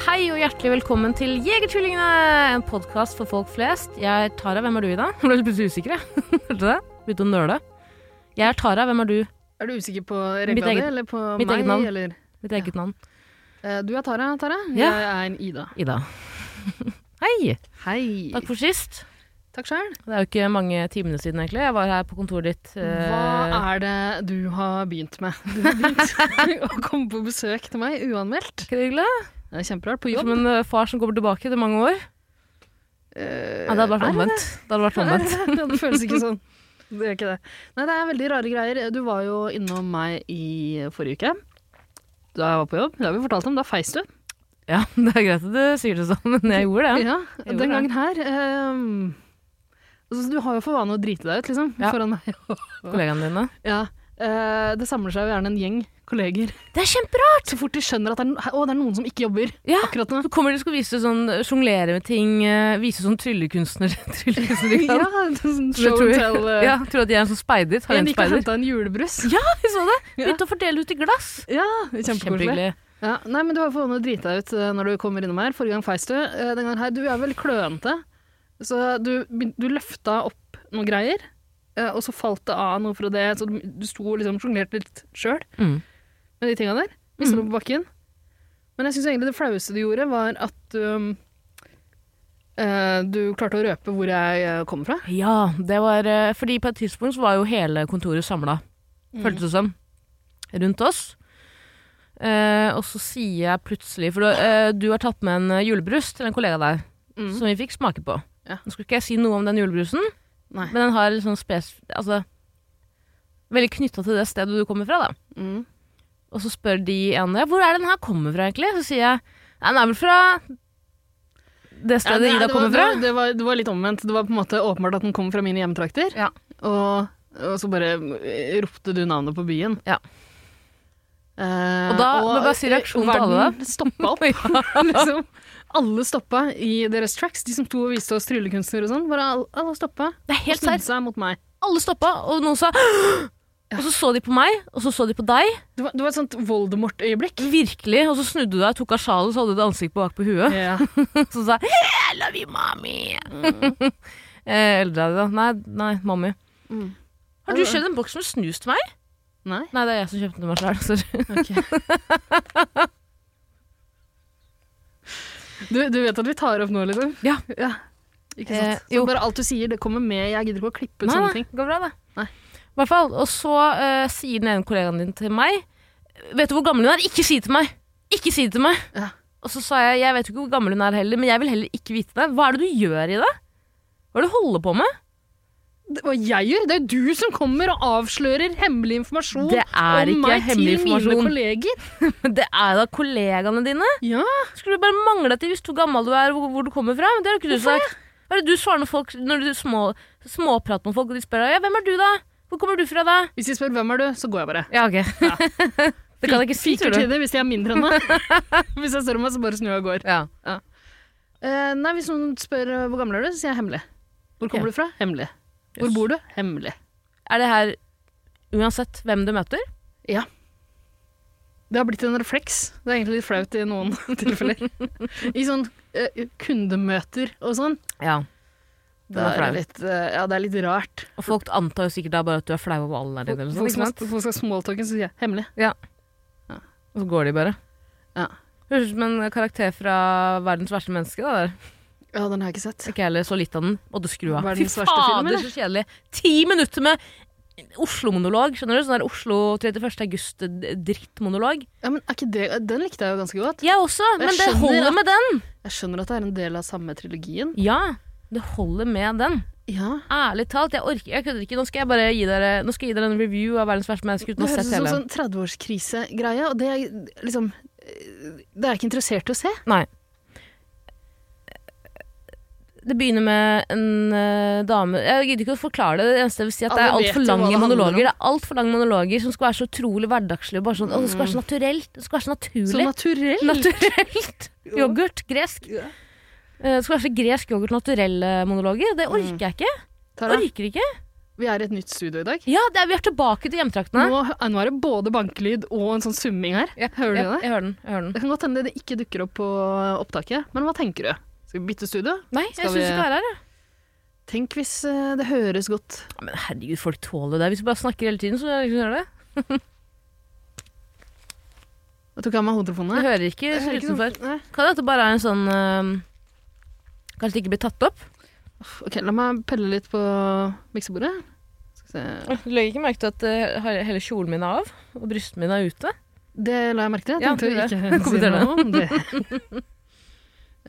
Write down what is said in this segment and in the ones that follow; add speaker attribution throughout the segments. Speaker 1: Hei og hjertelig velkommen til Jegertvillingene, en podkast for folk flest. Jeg er Tara, hvem er du i dag? Ble litt plutselig usikker, jeg. Hørte du det? Begynte å nøle. Jeg er Tara, hvem er du?
Speaker 2: Er du usikker på
Speaker 1: Mitt
Speaker 2: regla di,
Speaker 1: eget-
Speaker 2: eller på
Speaker 1: mitt
Speaker 2: meg?
Speaker 1: eget navn.
Speaker 2: Eller?
Speaker 1: Mitt eget navn.
Speaker 2: Eh, Du er Tara, Tara.
Speaker 1: Ja.
Speaker 2: Jeg er en Ida.
Speaker 1: Ida. Hei!
Speaker 2: Hei.
Speaker 1: Takk for sist.
Speaker 2: Takk sjøl.
Speaker 1: Det er jo ikke mange timene siden, egentlig. Jeg var her på kontoret ditt. eh,
Speaker 2: Hva er det du har begynt med? Du har begynt å komme på besøk til meg uanmeldt.
Speaker 1: ikke det hyggelig?
Speaker 2: Det er kjemperart. På
Speaker 1: Som
Speaker 2: jobb.
Speaker 1: en eh, far som kommer tilbake etter mange år.
Speaker 2: Eh,
Speaker 1: Nei, det hadde vært
Speaker 2: er
Speaker 1: omvendt. Det hadde vært omvendt.
Speaker 2: det det føles ikke sånn. Det gjør ikke det. Nei, det er veldig rare greier. Du var jo innom meg i forrige uke. Da jeg var på jobb. Det har vi fortalt om. Da feis du.
Speaker 1: Ja, det er greit at du sier det sånn, men jeg gjorde det.
Speaker 2: Ja,
Speaker 1: jeg gjorde
Speaker 2: den
Speaker 1: det.
Speaker 2: gangen her. ehm, altså, du har jo for vane å drite deg ut, liksom.
Speaker 1: Ja.
Speaker 2: Foran meg.
Speaker 1: Kollegaene dine.
Speaker 2: Ja, eh, det samler seg jo gjerne en gjeng kolleger.
Speaker 1: Det er kjemperart!
Speaker 2: Så fort de skjønner at det er, no- å, det er noen som ikke jobber
Speaker 1: Ja.
Speaker 2: akkurat nå.
Speaker 1: Så kommer de og skal vise sånn, sjonglere med ting, eh, vise sånn tryllekunstner. tryllekunstner ikke sant?
Speaker 2: det er sånn
Speaker 1: Så jeg
Speaker 2: show
Speaker 1: tror,
Speaker 2: and tell. eh.
Speaker 1: ja, tror at de er en sånn speider. Har
Speaker 2: Jeg
Speaker 1: en
Speaker 2: gikk og
Speaker 1: speider.
Speaker 2: henta en julebrus.
Speaker 1: Ja, vi så det!
Speaker 2: Ja.
Speaker 1: Begynte å fordele ut i glass.
Speaker 2: Ja, kjempekoselig. Ja, nei, men du har fått noe å drite deg ut eh, når du kommer innom her. Forrige gang feis du. Eh, Den gangen her, du er vel klønete. Så du, begyn- du løfta opp noen greier, eh, og så falt det av noe fra det. Så du du sto og liksom sjonglerte litt sjøl
Speaker 1: Mm.
Speaker 2: med de tinga der. Mista det på bakken. Men jeg syns egentlig det flaueste du gjorde, var at um, eh, du klarte å røpe hvor jeg eh, kommer fra.
Speaker 1: Ja, det var eh, Fordi på et tidspunkt så var jo hele kontoret samla, føltes det som, rundt oss. Eh, og så sier jeg plutselig For du, eh, du har tatt med en eh, julebrus til en kollega av deg,
Speaker 2: Mm.
Speaker 1: som vi fikk smake på.
Speaker 2: Ja.
Speaker 1: Nå skulle ikke jeg si noe om den julebrusen,
Speaker 2: Nei.
Speaker 1: men den har litt sånn spesif... Altså, veldig knytta til det stedet du kommer fra, da.
Speaker 2: Mm.
Speaker 1: Og så spør de ene hvor er det den her kommer fra egentlig? Så sier jeg nei, den er vel fra det
Speaker 2: Ja,
Speaker 1: stedet
Speaker 2: nei,
Speaker 1: Ida
Speaker 2: det var-
Speaker 1: kommer fra.
Speaker 2: Det, det, var, det var litt omvendt. Det var på en måte åpenbart at den kom fra mine hjemtrakter.
Speaker 1: Ja.
Speaker 2: Og, og så bare eh, ropte du navnet på byen.
Speaker 1: Ja.
Speaker 2: Eh,
Speaker 1: Og da- men hva sier reaksjonen til alle
Speaker 2: Verden stoppa opp, liksom. Alle stoppa i deres tracks. De som sto og viste oss tryllekunstnere og sånn. Bare alle, alle stoppa
Speaker 1: Det er
Speaker 2: og
Speaker 1: helt
Speaker 2: snudde
Speaker 1: serr.
Speaker 2: seg mot meg.
Speaker 1: Alle stoppa, og noen sa «Åh!» Og så så de på meg, og så så de på deg.
Speaker 2: Det var, det var et sånt Voldemort-øyeblikk.
Speaker 1: Virkelig. Og så snudde du deg, tok av sjalen, så hadde du et ansikt bak på huet.
Speaker 2: Ja.
Speaker 1: Så sa jeg «I love you, mommy. eh, eldre deg, da. Nei, nei, mommy.
Speaker 2: Mm.
Speaker 1: Har du kjøpt en boks med snus til meg?
Speaker 2: Nei?
Speaker 1: Nei, det er jeg som kjøpte den meg sjøl. Sorry.
Speaker 2: Ok. Du, du vet at vi tar opp nå, liksom?
Speaker 1: Ja.
Speaker 2: Ikke sant?
Speaker 1: Eh, jo.
Speaker 2: så bare alt du sier, det kommer med. Jeg gidder ikke å klippe
Speaker 1: Nei,
Speaker 2: ut sånne
Speaker 1: nei,
Speaker 2: ting.
Speaker 1: det går bra, det.
Speaker 2: Nei.
Speaker 1: I hvert fall. Og så eh, sier den ene kollegaen din til meg Vet du hvor gammel hun er? Ikke si det til meg! Ikke si det til meg!
Speaker 2: Ja.
Speaker 1: Og så sa jeg jeg vet jo ikke hvor gammel hun er heller, men jeg vil heller ikke vite det. Hva er det du gjør i det? Hva er det du holder på med?
Speaker 2: Det, hva jeg gjør? Det er jo du som kommer og avslører hemmelig informasjon
Speaker 1: Det er
Speaker 2: om
Speaker 1: ikke
Speaker 2: meg til
Speaker 1: hemmelig
Speaker 2: mine
Speaker 1: informasjon.
Speaker 2: kolleger.
Speaker 1: Men det er da kollegaene dine.
Speaker 2: Ja,
Speaker 1: Skulle det bare mangle at de visste hvor gammel du er, og hvor, hvor du kommer fra. Men det har jo ikke du sagt. Hva er det du svarer når folk Når du små, småprater med folk, og de spør deg ja, hvem er du, da? Hvor kommer du fra, da?
Speaker 2: Hvis de spør hvem er du, så går jeg bare.
Speaker 1: Ja, ok. det kan jeg ikke si,
Speaker 2: Fiker
Speaker 1: tror
Speaker 2: til
Speaker 1: du.
Speaker 2: det hvis de er mindre enn meg. hvis jeg står om meg, så bare snur jeg og går.
Speaker 1: Ja.
Speaker 2: Eh, nei, Hvis noen spør eh, hvor gammel er du, så sier jeg hemmelig. Hvor
Speaker 1: Ja.
Speaker 2: kommer du fra? Hemmelig. Hvor
Speaker 1: Yes.
Speaker 2: bor du? Hemmelig.
Speaker 1: Er det her uansett hvem du møter?
Speaker 2: Det har blitt en refleks. Det er egentlig litt flaut i noen tilfeller. I sånn eh, kundemøter og sånn.
Speaker 1: Ja. Det er
Speaker 2: Da er det
Speaker 1: flaut.
Speaker 2: litt, eh, ja, det er litt rart.
Speaker 1: Og folk antar jo sikkert da bare at du er sånn flau over alle der
Speaker 2: Folk
Speaker 1: nede.
Speaker 2: folk
Speaker 1: Ikke
Speaker 2: som
Speaker 1: sant?
Speaker 2: folk som skal smalltalke, så sier jeg hemmelig.
Speaker 1: Og så går de bare.
Speaker 2: Ja.
Speaker 1: Høres ut som en karakter fra Verdens verste menneske. da der.
Speaker 2: Ja, den har jeg ikke sett.
Speaker 1: Ikke jeg heller så litt av den. Måtte skru av.
Speaker 2: Verdens verste film, eller?
Speaker 1: så kjedelig. Ti minutter med Oslo-monolog. skjønner du? Sånn der Oslo 31. august-drittmonolog.
Speaker 2: Ja, men er ikke det, Den likte jeg jo ganske godt.
Speaker 1: Jeg også, men det
Speaker 2: skjønner
Speaker 1: holder
Speaker 2: at-
Speaker 1: med den.
Speaker 2: Jeg skjønner at det er en del av samme trilogien.
Speaker 1: Ja, det holder med den.
Speaker 2: Ja.
Speaker 1: Ærlig talt, jeg orker jeg kødder ikke. Nå skal jeg bare gi dere, nå skal jeg gi dere en review av Verdens verste menneske uten å
Speaker 2: Det
Speaker 1: ha
Speaker 2: høres
Speaker 1: sett
Speaker 2: ut som
Speaker 1: hele.
Speaker 2: sånn 30-årskrise-greie, og det er liksom eh, Det er jeg ikke interessert i å se.
Speaker 1: Nei. Det begynner med en eh, dame Jeg gidder ikke å forklare det. Det eneste jeg vil si er at det er
Speaker 2: Alle vet
Speaker 1: altfor
Speaker 2: jo hva det
Speaker 1: lange
Speaker 2: handler
Speaker 1: monologer.
Speaker 2: om.
Speaker 1: Det er alt for lange monologer som skal være så utrolig hverdagslige. og Bare sånn, «Å, det skal være så naturelt. Det skal være så
Speaker 2: Så
Speaker 1: naturlig.
Speaker 2: naturell.
Speaker 1: naturelt!
Speaker 2: Ja.
Speaker 1: Yoghurt. Gresk.
Speaker 2: Ja.
Speaker 1: Eh, Det skal være så gresk yoghurt naturelle monologer. Det
Speaker 2: Mm.
Speaker 1: orker jeg ikke.
Speaker 2: Tara,
Speaker 1: Orker ikke.
Speaker 2: vi er i et nytt studio i dag.
Speaker 1: Ja, det er, vi er tilbake til hjemtraktene.
Speaker 2: Nå, nå er det både bankelyd og en sånn summing her. Hører du
Speaker 1: Ja,
Speaker 2: det?
Speaker 1: Jeg hører den. Jeg hører den.
Speaker 2: Det kan godt hende det ikke dukker opp på opptaket, men hva tenker du? Skal vi bytte studio?
Speaker 1: Nei, jeg
Speaker 2: Skal
Speaker 1: syns
Speaker 2: vi-
Speaker 1: ikke det er her. jeg.
Speaker 2: Tenk hvis eh, det høres godt.
Speaker 1: Ja, Men herregud, folk tåler det. Hvis vi bare snakker hele tiden, så hører de det.
Speaker 2: Jeg tok av meg hodetelefonene.
Speaker 1: De hører ikke
Speaker 2: Jeg hører ikke
Speaker 1: utenfor.
Speaker 2: sånn- Nei.
Speaker 1: Kan det at det bare er en sånn øhm, Kanskje det ikke blir tatt opp?
Speaker 2: Ok, la meg pelle litt på miksebordet. Skal vi se.
Speaker 1: Du legger ikke merke til at eh, hele kjolen min er av, og brystene mine er ute?
Speaker 2: Det la jeg merke til. Jeg
Speaker 1: Ja,
Speaker 2: tenkte å
Speaker 1: det.
Speaker 2: ikke si
Speaker 1: Kommentere det.
Speaker 2: noe om det.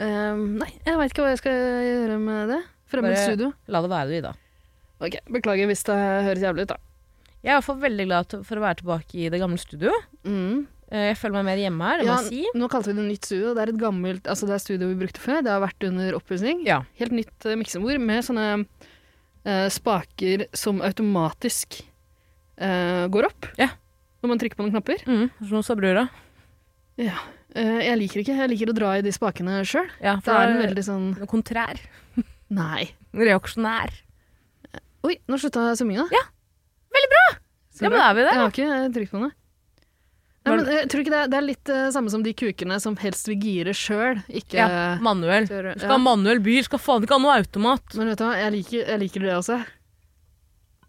Speaker 2: Ehm, nei, jeg veit ikke hva jeg skal gjøre med det. Fremmed
Speaker 1: Bare-
Speaker 2: studio.
Speaker 1: La det være, du, Ida.
Speaker 2: Ok, Beklager hvis det høres jævlig ut, da.
Speaker 1: Jeg er i hvert fall veldig glad til- for å være tilbake i det gamle studioet.
Speaker 2: Mm.
Speaker 1: Eh, Jeg føler meg mer hjemme her, det må
Speaker 2: Ja,
Speaker 1: jeg si.
Speaker 2: nå kalte vi det nytt studio. Det er et gammelt altså det er studio vi brukte før. Det har vært under oppussing.
Speaker 1: Ja.
Speaker 2: Helt nytt eh, miksebord med sånne eh, spaker som automatisk eh, går opp
Speaker 1: Ja.
Speaker 2: når man trykker på noen knapper.
Speaker 1: Mm, som sa brura.
Speaker 2: Eh, jeg liker ikke. Jeg liker å dra i de spakene sjøl.
Speaker 1: Ja, for
Speaker 2: Da er den
Speaker 1: det er
Speaker 2: veldig sånn
Speaker 1: noe kontrær.
Speaker 2: Nei.
Speaker 1: Reaksjonær.
Speaker 2: Oi, nå slutta summinga.
Speaker 1: Ja.
Speaker 2: Veldig bra!
Speaker 1: Ja, men da er vi
Speaker 2: Jeg
Speaker 1: der.
Speaker 2: har ikke eh, trykt på noe. Nei,
Speaker 1: Var
Speaker 2: men, jeg tror ikke det, er, det er litt det samme som de kukene som helst vil gire sjøl, ikke
Speaker 1: Ja, manuell. Du
Speaker 2: Tør-
Speaker 1: skal
Speaker 2: ja.
Speaker 1: ha manuell bil, skal faen ikke ha noe automat.
Speaker 2: Men vet du hva, jeg liker, jeg liker det også.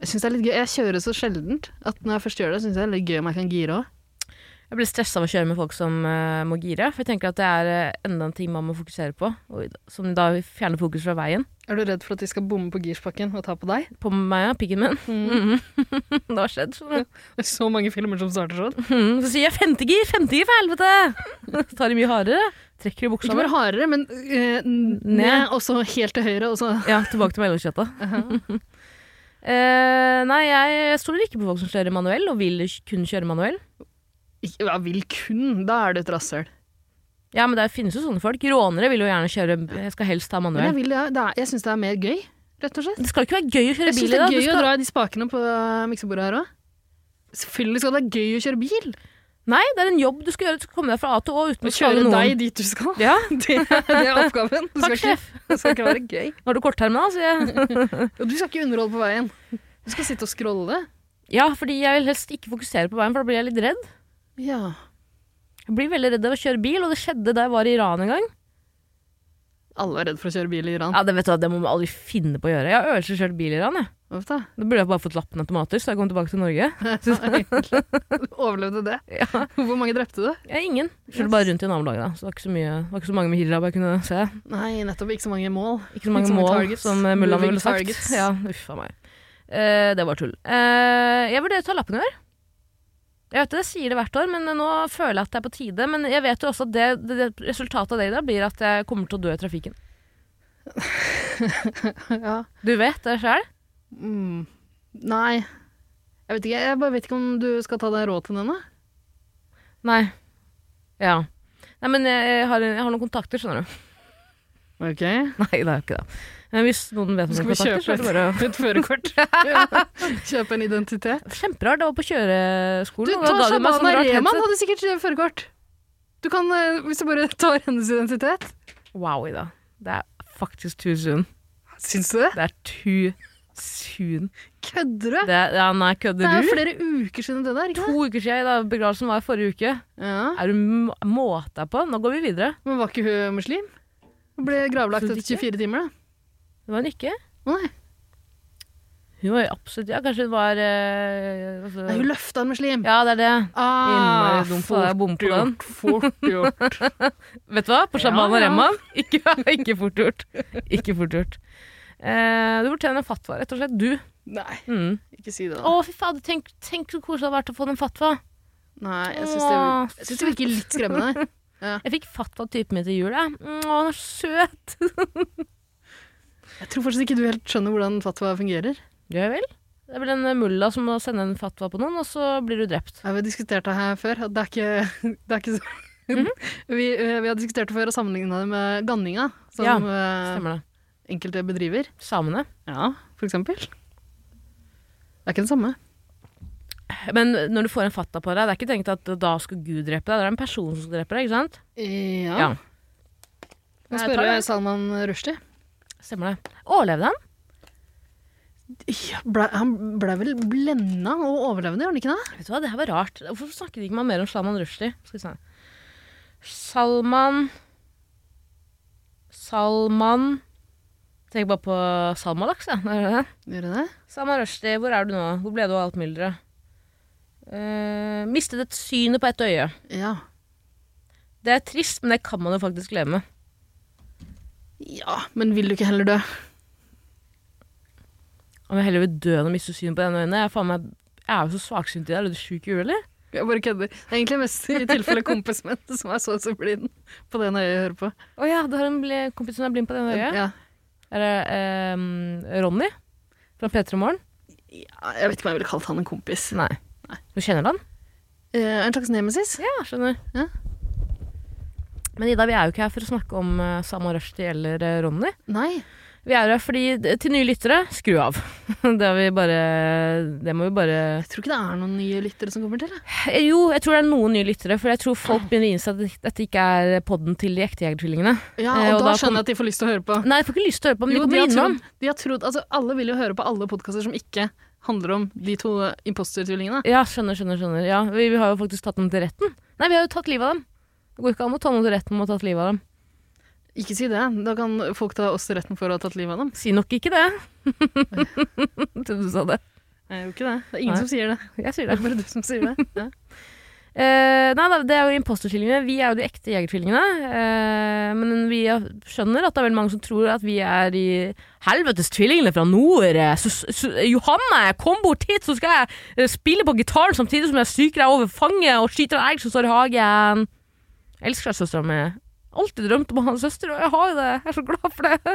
Speaker 2: Jeg synes det er litt gøy. Jeg kjører så sjeldent at når jeg først gjør det, synes jeg det er litt gøy om jeg kan gire òg.
Speaker 1: Jeg blir stressa av å kjøre med folk som eh, må gire. For jeg tenker at det er eh, enda en ting man må fokusere på, og, som da fjerner fokus fra veien.
Speaker 2: Er du redd for at de skal bomme på girspakken og ta på deg?
Speaker 1: På meg, ja, pikken min. Mhm.
Speaker 2: Mm.
Speaker 1: det har skjedd. skjønner du.
Speaker 2: Det er så mange filmer som starter sånn.
Speaker 1: Mhm, Så sier jeg femte gir, femte gir for helvete! Så tar de mye hardere. Trekker i
Speaker 2: Ikke
Speaker 1: buksa.
Speaker 2: bare hardere, men eh, n- ned, og så helt til høyre, og så
Speaker 1: Ja, tilbake til mellomkjøtta.
Speaker 2: Uh-huh.
Speaker 1: Eh, nei, jeg stoler ikke på folk som kjører manuell, og vil kun kjøre manuell.
Speaker 2: Ikke- ja, vil kun. Da er du et rasshøl.
Speaker 1: Ja, men det finnes jo sånne folk. Rånere vil jo gjerne kjøre Jeg skal helst ha
Speaker 2: Men jeg,
Speaker 1: manuell.
Speaker 2: vil, det er- det er, jeg syns det er mer gøy, rett og slett.
Speaker 1: Det skal jo ikke være gøy å kjøre
Speaker 2: Jeg
Speaker 1: bil
Speaker 2: syns
Speaker 1: i
Speaker 2: det
Speaker 1: dag.
Speaker 2: er
Speaker 1: Du
Speaker 2: gøy å
Speaker 1: skal-
Speaker 2: dra i de spakene på eh, miksebordet her òg. Selvfølgelig skal det være gøy å kjøre bil.
Speaker 1: Nei, det er en jobb du skal gjøre. Du skal komme deg fra A til Å uten å
Speaker 2: Og
Speaker 1: kjøre
Speaker 2: kjøre
Speaker 1: noen.
Speaker 2: deg dit du skal.
Speaker 1: Ja,
Speaker 2: Det, det er oppgaven. Du
Speaker 1: Takk,
Speaker 2: skal ikke, det skal ikke være gøy.
Speaker 1: Nå har du kortterma, sier jeg.
Speaker 2: Og du skal ikke underholde på veien. Du skal sitte og scrolle.
Speaker 1: Ja, fordi jeg vil helst ikke fokusere på veien, for da blir jeg litt redd.
Speaker 2: Ja.
Speaker 1: Jeg blir veldig redd av å kjøre bil, og det skjedde da jeg var i Iran en gang.
Speaker 2: Alle er redd for å kjøre bil i Iran.
Speaker 1: Ja, Det vet du, hva, det må man aldri finne på å gjøre. Jeg har øvelse kjørt bil i Iran. jeg.
Speaker 2: Uff da.
Speaker 1: Da burde jeg bare fått lappen automater, så jeg kom tilbake til Norge.
Speaker 2: Du Overlevde det.
Speaker 1: Ja.
Speaker 2: Hvor mange drepte du?
Speaker 1: Jeg er ingen. Kjørte bare rundt i nabolaget, da. Så det var ikke så, mye, det var ikke så mange med hijab jeg kunne se.
Speaker 2: Nei, nettopp. Ikke så mange mål.
Speaker 1: Ikke så mange
Speaker 2: Ikke så mange
Speaker 1: mål,
Speaker 2: targets.
Speaker 1: som eh, mullaen
Speaker 2: Moving
Speaker 1: ville sagt.
Speaker 2: targets.
Speaker 1: Ja, uff a meg. Eh, det var tull. Eh, jeg vurderer å ta lappen i år. Jeg vet det, jeg sier det hvert år, men nå føler jeg at det er på tide. Men jeg vet jo også at det, det, det resultatet av det i dag blir at jeg kommer til å dø i trafikken.
Speaker 2: Ja.
Speaker 1: Du vet det sjøl?
Speaker 2: Mm. Nei. Jeg vet ikke. Jeg bare vet ikke om du skal ta deg råd til den, da.
Speaker 1: Nei. Ja. Nei, men jeg, jeg, har, jeg har noen kontakter, skjønner du.
Speaker 2: Ok.
Speaker 1: Nei, det er jo ikke det. Men hvis noen vet om
Speaker 2: Skal
Speaker 1: noen
Speaker 2: vi
Speaker 1: kontakter, så
Speaker 2: kjøpe
Speaker 1: er det bare å
Speaker 2: et, et førerkort? kjøpe en identitet?
Speaker 1: Kjemperart. Det var på
Speaker 2: Du,
Speaker 1: kjøreskolen. og da ga de
Speaker 2: ta
Speaker 1: meg sånn
Speaker 2: Shabana
Speaker 1: rart
Speaker 2: Rehman
Speaker 1: headset.
Speaker 2: hadde sikkert førerkort. Du kan, eh, Hvis du bare tar hennes identitet.
Speaker 1: Wow, Ida. Det er faktisk too soon.
Speaker 2: Syns du det?
Speaker 1: Det er too soon.
Speaker 2: Kødder du?
Speaker 1: Det, ja, nei,
Speaker 2: Det
Speaker 1: kødder
Speaker 2: er jo
Speaker 1: du?
Speaker 2: flere uker siden det der, ikke det?
Speaker 1: To uker siden da begravelsen var i forrige uke.
Speaker 2: Ja.
Speaker 1: Er du m- måte på? Nå går vi videre.
Speaker 2: Men var ikke hun muslim? Hun ble gravlagt
Speaker 1: Absolutt
Speaker 2: etter 24 timer, da.
Speaker 1: Det var hun ikke.
Speaker 2: Å, nei.
Speaker 1: Hun var jo absolutt Ja, kanskje hun var eh, altså,
Speaker 2: nei, hun løfta en muslim.
Speaker 1: Ja, det er det.
Speaker 2: Ah,
Speaker 1: Innmari dumt av deg å bomme på den.
Speaker 2: Fort gjort.
Speaker 1: Vet du hva? På Shaban og
Speaker 2: Ja, ja.
Speaker 1: Rehman. Ikke, ikke fort gjort. Ikke fort gjort. Eh, du fortjener en fatwa, rett og slett. Du.
Speaker 2: Nei,
Speaker 1: Mm.
Speaker 2: ikke si det,
Speaker 1: Å,
Speaker 2: da.
Speaker 1: fy fader. Tenk, tenk så koselig det hadde vært å få den fatwa.
Speaker 2: Nei, jeg syns det,
Speaker 1: Åh,
Speaker 2: jeg synes det virker litt skremmende.
Speaker 1: Jeg fikk fatwa av typen min til jul. jeg. Mm, Å, han er søt.
Speaker 2: Jeg tror fortsatt ikke du helt skjønner hvordan fatwa fungerer.
Speaker 1: Ja vel. Det er vel en eh, mulla som må sende en fatwa på noen, og så blir du drept.
Speaker 2: Ja, vi har diskutert det her før. At det er ikke, det er ikke så
Speaker 1: Mhm.
Speaker 2: vi, eh, vi har diskutert det før og sammenligna det med ganninga, som
Speaker 1: Ja,
Speaker 2: eh,
Speaker 1: Stemmer det.
Speaker 2: enkelte bedriver.
Speaker 1: Samene.
Speaker 2: Ja, for eksempel. Det er ikke den samme.
Speaker 1: Men når du får en fatta på deg, det er ikke tenkt at da skal Gud drepe deg. Det er en person som skal drepe deg, ikke sant?
Speaker 2: Ja. ja. Kan spørre Salman Rushdie.
Speaker 1: Stemmer det. Overlevde han?
Speaker 2: Ja, ble, han ble vel blenda og overlevende, gjorde han ikke det?
Speaker 1: Vet du hva, Det her var rart. Hvorfor snakker ikke man mer om Salman Rushdie? Skal vi se. Salman Salman Tenk bare på Salmalaks, ja. Gjør
Speaker 2: du det? det?
Speaker 1: Salman Rushdie, hvor er du nå? Hvor ble du av alt mylderet? Uh, mistet et synet på ett øye.
Speaker 2: Ja.
Speaker 1: Det er trist, men det kan man jo faktisk leve med.
Speaker 2: Ja, men vil du ikke heller dø?
Speaker 1: Om jeg heller vil dø enn å miste synet på det ene øyet? Jeg, er jo så svaksynt i dag. Er du sjuk i huet, eller?
Speaker 2: Jeg bare kødder. Det er egentlig mest i tilfelle kompisen min som er så så blind på det ene øyet jeg hører på.
Speaker 1: Å oh, ja, du har en kompis som er blind på det ene øyet?
Speaker 2: Ja.
Speaker 1: Er det eh, Ronny fra P3 Morgen?
Speaker 2: Ja, jeg vet ikke om jeg ville kalt han en kompis.
Speaker 1: Nei.
Speaker 2: Nei.
Speaker 1: Du kjenner han?
Speaker 2: Eh, en slags nemesis?
Speaker 1: Ja, skjønner.
Speaker 2: Ja.
Speaker 1: Men Ida, vi er jo ikke her for å snakke om uh, Salman Rushdie eller uh, Ronny.
Speaker 2: Nei.
Speaker 1: Vi er her fordi eh, Til nye lyttere, skru av. det, bare, det, må vi bare
Speaker 2: Jeg tror ikke det er noen nye lyttere som kommer til.
Speaker 1: Eh, jo, jeg tror det er noen nye lyttere, for jeg tror folk begynner å innse at dette ikke er podden til de ekte jegertvillingene.
Speaker 2: Ja, og, eh, og da, da, skjønner jeg at de får lyst til å høre på.
Speaker 1: Nei, de får ikke lyst til å høre på, men jo, de kommer innom.
Speaker 2: De har trodd, altså, alle vil jo høre på alle podkaster som ikke handler om de to impostertvillingene.
Speaker 1: Ja, skjønner, skjønner. skjønner. Ja, vi, vi, har jo faktisk tatt dem til retten. Nei, vi har jo tatt livet av dem. Det går ikke an å ta noen til retten om å ha tatt livet av dem.
Speaker 2: Ikke si det. Da kan folk ta oss til retten for å ha tatt livet av dem.
Speaker 1: Si nok ikke det. Trodde du sa det.
Speaker 2: Jeg gjorde ikke det. Det er ingen nei. som sier det.
Speaker 1: Jeg sier det.
Speaker 2: Det er bare du som sier det. ja.
Speaker 1: uh, nei da, det er jo impostertvillingene. Vi er jo de ekte jegertvillingene. Uh, men vi skjønner at det er veldig mange som tror at vi er de helvetes tvillingene fra nord. Så, så, Johanne, kom bort hit, så skal jeg eh, spille på gitaren samtidig som jeg stryker deg over fanget og skyter en elg som står i hagen elsker søstera mi. Alltid drømt om å ha en søster, og jeg har jo det. Jeg er så glad for det.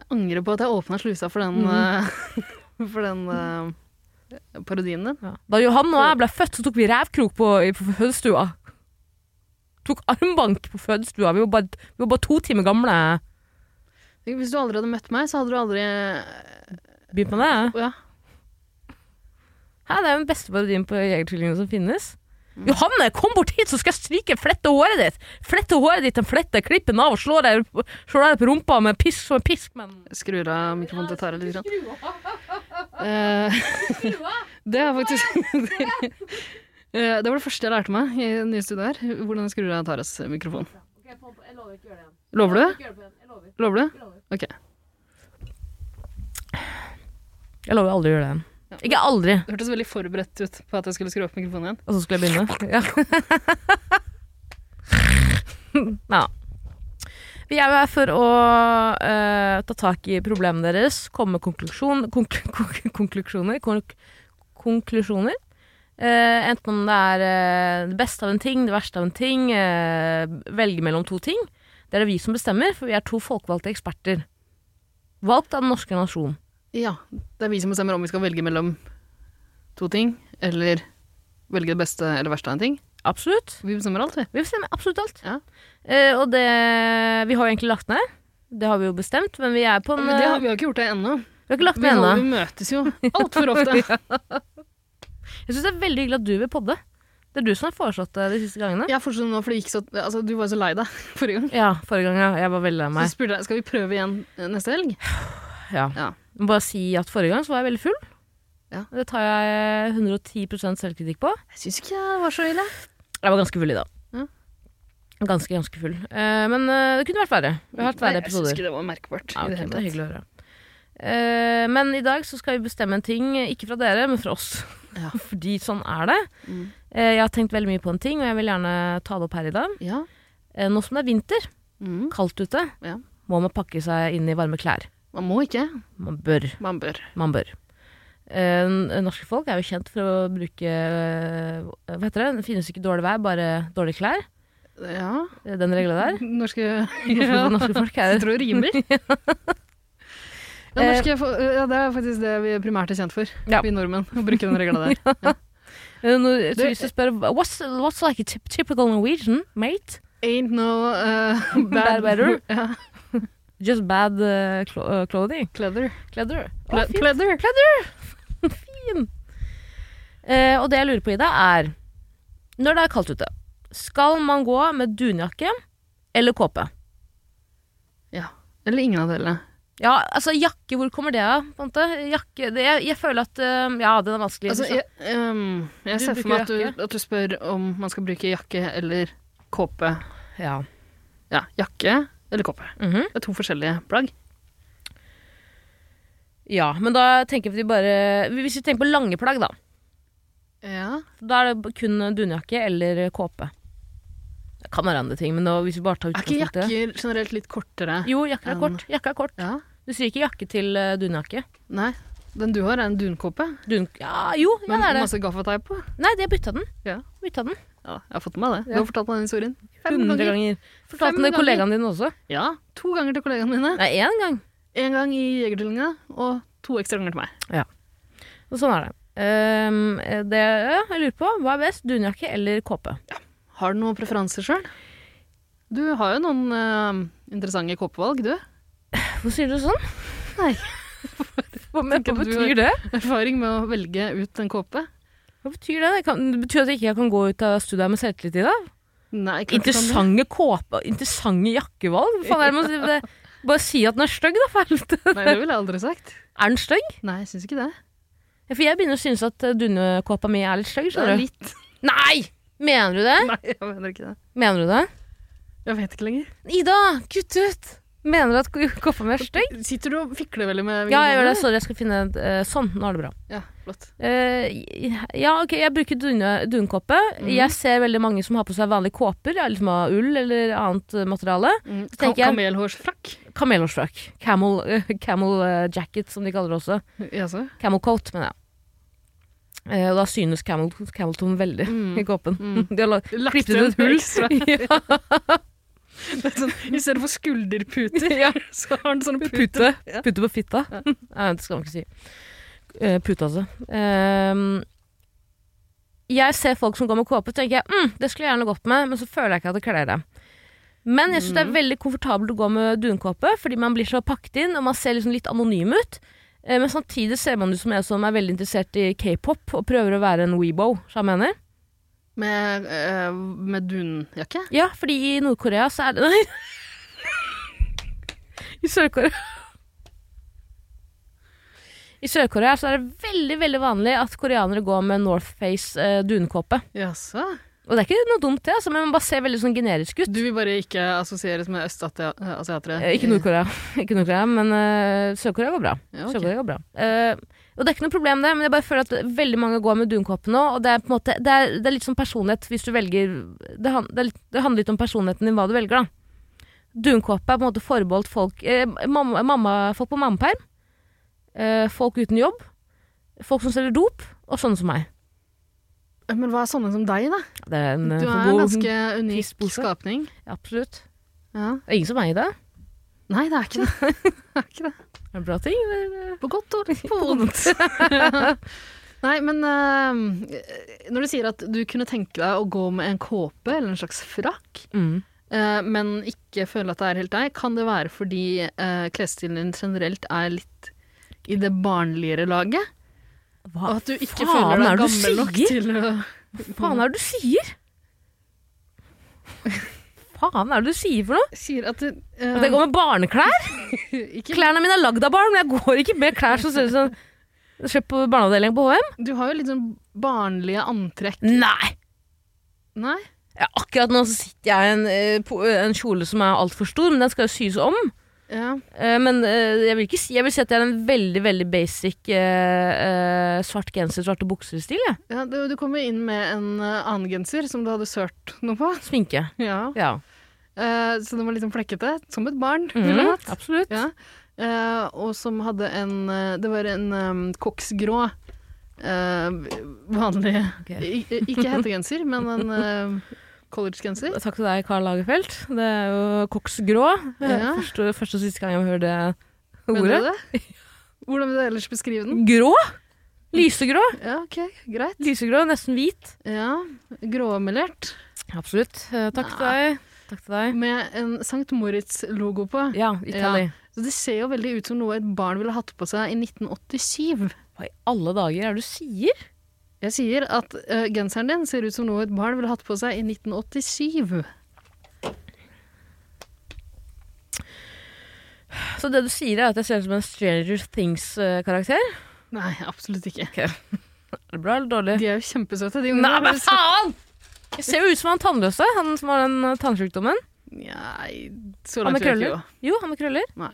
Speaker 2: Jeg angrer på at jeg åpna slusa for den, mm. for den uh, parodien din. Ja.
Speaker 1: Da Johanne og jeg ble født, så tok vi revkrok på, på fødestua. Tok armbank på fødestua. Vi var bare, vi var bare to timer gamle.
Speaker 2: Hvis du aldri hadde møtt meg, så hadde du aldri
Speaker 1: Begynt med
Speaker 2: det? Ja.
Speaker 1: Hæ, det er jo den beste parodien på Jegertvillingene som finnes. Mm. Johanne, kom bort hit, så skal jeg stryke flette håret ditt! Flette håret ditt en flette, klipp den av og slå deg, slå deg på rumpa med pisk som en pisk, men
Speaker 2: Skrur av mikrofonen til Tara litt. Grann. det er faktisk Eh, Det var det første jeg lærte meg i nye studier her. Hvordan jeg skrur av Taras mikrofon. Lover du? Lover du? Ok.
Speaker 1: Jeg lover aldri å gjøre det igjen. Ja. Ikke aldri.
Speaker 2: Det hørtes veldig forberedt ut på at jeg skulle skru opp mikrofonen igjen.
Speaker 1: Og så skulle jeg begynne? Ja. ja. Vi er jo her for å uh, ta tak i problemene deres, komme med konklusjon, konk konk konklusjoner. Konk konklusjoner. Uh, enten om det er uh, det beste av en ting, det verste av en ting, eh, velge mellom to ting. Det er det vi som bestemmer, for vi er to folkevalgte eksperter. Valgt av den norske nasjon.
Speaker 2: Ja. Det er vi som bestemmer om vi skal velge mellom to ting, eller velge det beste eller verste av en ting.
Speaker 1: Absolutt.
Speaker 2: Vi bestemmer alt, vi.
Speaker 1: Vi bestemmer absolutt alt.
Speaker 2: Ja.
Speaker 1: Eh, og det Vi har jo egentlig lagt ned. Det har vi jo bestemt, men vi er på en eh,
Speaker 2: men det har, Vi har ikke gjort det ennå.
Speaker 1: Vi har ikke lagt ned ennå.
Speaker 2: Vi møtes jo altfor ofte.
Speaker 1: Jeg syns det er veldig hyggelig at du vil podde. Det er du som har foreslått det de siste gangene.
Speaker 2: Jeg foreslo det nå, for så, altså, du var jo så lei deg forrige gang.
Speaker 1: Ja, forrige gang. Ja. Jeg var veldig lei meg.
Speaker 2: Så spurte jeg skal vi prøve igjen eh, neste helg.
Speaker 1: Ja. ja. Må bare si at forrige gang så var jeg veldig full.
Speaker 2: Ja.
Speaker 1: Det tar jeg 110 selvkritikk på.
Speaker 2: Jeg syns ikke jeg var så ille.
Speaker 1: Jeg var ganske full i dag.
Speaker 2: Ja.
Speaker 1: Ganske, ganske full. Eh, men det kunne vært verre. Vi har hatt verre episoder.
Speaker 2: Jeg syns ikke det var merkbart.
Speaker 1: Ja, okay, det, det er hyggelig å høre. Eh, men i dag så skal vi bestemme en ting, eh, ikke fra dere, men fra oss.
Speaker 2: Ja.
Speaker 1: Fordi sånn er det.
Speaker 2: Mm.
Speaker 1: Eh, jeg har tenkt veldig mye på en ting, og jeg vil gjerne ta det opp her i dag. Eh,
Speaker 2: Ja.
Speaker 1: nå som det er vinter,
Speaker 2: mm.
Speaker 1: kaldt ute, må man pakke seg inn i varme klær.
Speaker 2: Man må ikke.
Speaker 1: Man bør.
Speaker 2: Man bør.
Speaker 1: Man bør. Eh, norske folk er jo kjent for å bruke eh, Hva heter det? Det finnes ikke dårlig vær, bare dårlige klær. Eh,
Speaker 2: Ja.
Speaker 1: Den regla der.
Speaker 2: Norske,
Speaker 1: ja. norske folk er
Speaker 2: Sitter og rimer. ja, norske, eh, ja, det er faktisk det vi primært er kjent for,
Speaker 1: Ja.
Speaker 2: vi nordmenn. Å bruke den regla der. Ja.
Speaker 1: Når turister spør what's, what's like a typ- typical Norwegian, mate?
Speaker 2: Ain't no uh, bad,
Speaker 1: Bad weather.
Speaker 2: Ja.
Speaker 1: Just bad eh, clo eh, clothing.
Speaker 2: Pleather.
Speaker 1: Pleather. Å,
Speaker 2: Ple
Speaker 1: fint.
Speaker 2: pleather.
Speaker 1: Fin. Eh, og det jeg lurer på, Ida, er Når det er kaldt ute, skal man gå med dunjakke eller kåpe?
Speaker 2: Ja. Eller ingen av delene.
Speaker 1: Ja, altså jakke, hvor kommer det av? på en måte? Jakke, det, jeg, jeg føler at eh, Ja, den er vanskelig. liksom.
Speaker 2: Altså, jeg, ehm, jeg
Speaker 1: Du
Speaker 2: ser for
Speaker 1: bruker
Speaker 2: meg at du,
Speaker 1: jakke?
Speaker 2: at du spør om man skal bruke jakke eller kåpe.
Speaker 1: ja.
Speaker 2: Ja, jakke eller kåpe.
Speaker 1: Mhm.
Speaker 2: Det er to forskjellige plagg.
Speaker 1: ja, men da tenker vi bare Hvis vi tenker på lange plagg, da.
Speaker 2: Ja.
Speaker 1: Da er det kun dunjakke eller kåpe. Det kan være andre ting, men nå, hvis vi bare tar
Speaker 2: Er ikke
Speaker 1: utgangspunkt i det
Speaker 2: jakker generelt litt kortere?
Speaker 1: Jo, jakker er kort. Jakke er kort.
Speaker 2: Ja.
Speaker 1: Du sier ikke jakke til eh, dunjakke.
Speaker 2: Nei. Den du har, er en dunkåpe
Speaker 1: Dun ja, jo, ja,
Speaker 2: med
Speaker 1: det er det.
Speaker 2: masse gaffateip på.
Speaker 1: Nei, de har bytta den.
Speaker 2: Ja.
Speaker 1: Bytta den.
Speaker 2: Ja, jeg har fått med meg det. Du
Speaker 1: Ja.
Speaker 2: har fortalt meg den historien. Fem
Speaker 1: 100 ganger. Fortalte
Speaker 2: Fem
Speaker 1: den til
Speaker 2: ganger.
Speaker 1: kollegaene dine også.
Speaker 2: Ja, to ganger til kollegaene mine.
Speaker 1: Nei, én gang.
Speaker 2: En gang i Jegertvillinga, og to ekstra ganger til meg.
Speaker 1: Og sånn er det. Ehm, det ja, jeg lurer på, hva er best? Dunjakke eller kåpe?
Speaker 2: Har du noen preferanser sjøl? Du har jo noen eh, interessante kåpevalg, du.
Speaker 1: Hvorfor sier du sånn?
Speaker 2: Nei.
Speaker 1: Hva, men,
Speaker 2: Tenker
Speaker 1: hva
Speaker 2: du du
Speaker 1: betyr det?
Speaker 2: Erfaring med å velge ut en kåpe.
Speaker 1: Hva betyr det? Det, kan, det betyr at jeg ikke kan gå ut av studiet her med selvtillit i dag?
Speaker 2: Nei, sånn. klart du kan det.
Speaker 1: Interessante kåpe, interessante jakkevalg? Hva faen er det man sier? Det, bare si at den er stygg, da. for helvete.
Speaker 2: Nei, det ville jeg aldri sagt.
Speaker 1: Er den stygg?
Speaker 2: Nei, jeg syns ikke det.
Speaker 1: Ja, For jeg begynner å synes at eh, dunekåpa mi er litt stygg.
Speaker 2: Det er
Speaker 1: skjønner du?
Speaker 2: litt.
Speaker 1: Nei! Mener du det?
Speaker 2: Nei, jeg mener ikke det.
Speaker 1: Mener du det?
Speaker 2: Jeg vet ikke lenger.
Speaker 1: Ida, kutt ut! Mener du at k- kåpa mi er stygg?
Speaker 2: Sitter du og fikler veldig med
Speaker 1: Ja, jeg gjør det. Sorry, jeg skal finne eh, Sånn, nå er det bra.
Speaker 2: Ja, flott.
Speaker 1: Eh, ja, ok, jeg bruker dune- dunkoppe. Jeg ser veldig mange som har på seg vanlige kåper, ja, liksom av ull eller annet eh, materiale.
Speaker 2: Mm.
Speaker 1: Så
Speaker 2: Ka
Speaker 1: tenker jeg-
Speaker 2: kamelhårsfrakk.
Speaker 1: Kamelhårsfrakk. Camel, eh, camel eh, jacket, som de kaller det også.
Speaker 2: Jaså?
Speaker 1: Camel coat, mener jeg. Eh, og da synes camel, camelton veldig i
Speaker 2: Mm.
Speaker 1: kåpen.
Speaker 2: Mm.
Speaker 1: De har la-
Speaker 2: Lagt
Speaker 1: klippet
Speaker 2: igjen
Speaker 1: ut et hull.
Speaker 2: ekstra.
Speaker 1: ja,
Speaker 2: Det er Sånn, I stedet for skulderputer,
Speaker 1: ja.
Speaker 2: så har den sånn sånne puter.
Speaker 1: Pute.
Speaker 2: Ja.
Speaker 1: Pute på fitta. Nei, det skal man ikke si. Eh, Pute, altså. Ehm, jeg ser folk som går med kåpe, så tenker jeg mm, det skulle jeg gjerne gått med, men så føler jeg ikke at det kler det. Men jeg syns
Speaker 2: Mm.
Speaker 1: det er veldig komfortabelt å gå med dunkåpe, fordi man blir så pakket inn, og man ser liksom litt anonym ut. Eh, Men samtidig ser man ut som jeg som er veldig interessert i k-pop, og prøver å være en weebo, som jeg mener.
Speaker 2: Med, eh, med dunjakke?
Speaker 1: Ja, fordi i Nord-Korea så er det Nei! I Sør-Korea I Sør-Korea så er det veldig veldig vanlig at koreanere går med Northface eh, dunkåpe.
Speaker 2: Jaså?
Speaker 1: Og det er ikke noe dumt, det, altså, men man bare ser veldig sånn generisk ut.
Speaker 2: Du vil bare ikke assosieres med østasiatere?
Speaker 1: Eh, ikke Nord-Korea, Ikke Nord-Korea, men eh, Sør-Korea går bra.
Speaker 2: Ja, ok.
Speaker 1: Sør-Korea går bra. Eh, og det er ikke noe problem, det, men jeg bare føler at veldig mange går med dunkåpe nå. Og det er, på en måte, det er, det er litt sånn personlighet hvis du velger det, han, det, er litt, det handler litt om personligheten din, hva du velger, da. Dunkåpe er på en måte forbeholdt folk eh, mamma, mamma, Folk på mammaperm. eh, folk uten jobb. Folk som selger dop. Og sånne som meg.
Speaker 2: Eh, Men hva er sånne som deg, da?
Speaker 1: Det er en, eh,
Speaker 2: Du er en
Speaker 1: god-
Speaker 2: ganske unik
Speaker 1: fiskpose.
Speaker 2: skapning.
Speaker 1: Absolutt.
Speaker 2: Ja.
Speaker 1: Det er ingen som meg i det.
Speaker 2: Nei, det er ikke det. det, er ikke det.
Speaker 1: Er det bra ting? eller?
Speaker 2: På godt og litt på vondt. Nei, men eh, når du sier at du kunne tenke deg å gå med en kåpe eller en slags frakk,
Speaker 1: Mm.
Speaker 2: eh, men ikke føle at det er helt deg, kan det være fordi eh, klesstilen din generelt er litt i det barnligere laget?
Speaker 1: Hva
Speaker 2: Og at du ikke
Speaker 1: faen
Speaker 2: føler
Speaker 1: er
Speaker 2: deg
Speaker 1: det du
Speaker 2: gammel nok
Speaker 1: sier?
Speaker 2: til å
Speaker 1: faen er det du sier? faen er det du sier for noe?
Speaker 2: Sier at det, eh,
Speaker 1: At jeg går med barneklær?
Speaker 2: ikke,
Speaker 1: Klærne mine er lagd av barn, men jeg går ikke med klær som ser ut som Kjøpt på barneavdelingen på HM?
Speaker 2: Du har jo litt sånn barnlige antrekk.
Speaker 1: Nei!
Speaker 2: Nei?
Speaker 1: Ja, akkurat nå så sitter jeg i en, eh, po- en kjole som er altfor stor, men den skal jo sys om.
Speaker 2: Ja.
Speaker 1: Eh, Men eh, jeg vil, ikke si, jeg vil si at jeg er en veldig veldig basic eh, eh, svart genser, svarte bukser-stil. jeg.
Speaker 2: Ja, du, du kom jo inn med en eh, annen genser som du hadde sørt noe på.
Speaker 1: Sminke.
Speaker 2: Ja.
Speaker 1: Ja.
Speaker 2: Eh, så den var litt sånn flekkete, som et barn ville
Speaker 1: Mhm,
Speaker 2: hatt.
Speaker 1: absolutt.
Speaker 2: Ja. Eh, og som hadde en eh, Det var en eh, koksgrå eh, vanlig
Speaker 1: Ok.
Speaker 2: i- i- Ikke hettegenser, men en eh, collegegenser.
Speaker 1: Takk til deg, Karl Lagerfeldt. Det er jo Cox Grå.
Speaker 2: Ja.
Speaker 1: Første, første og siste gang jeg hører det
Speaker 2: Mener
Speaker 1: ordet.
Speaker 2: du det? Hvordan vil du ellers beskrive den?
Speaker 1: Grå? Lysegrå.
Speaker 2: Ja, OK, greit.
Speaker 1: Lysegrå, nesten hvit.
Speaker 2: Ja. Gråmelert.
Speaker 1: Absolutt. Eh, Takk til
Speaker 2: Nei.
Speaker 1: deg. Takk til deg.
Speaker 2: Med en St. Moritz-logo på.
Speaker 1: Ja, Italy.
Speaker 2: Ja. Så det ser jo veldig ut som noe et barn ville hatt på seg i 1987.
Speaker 1: Hva i alle dager er det du sier?
Speaker 2: Jeg sier at uh, genseren din ser ut som noe et barn ville hatt på seg i 1987.
Speaker 1: Så det du sier, er at jeg ser ut som en Stranger Things-karakter?
Speaker 2: Nei, absolutt ikke.
Speaker 1: Okay. Er det bra eller dårlig?
Speaker 2: De er jo kjempesøte.
Speaker 1: Nei, men faen! Jeg ser jo ut som han tannløse, han som har den tannsjukdommen.
Speaker 2: Nei, så langt tror jeg ikke jo.
Speaker 1: Jo, han med krøller.
Speaker 2: Nei.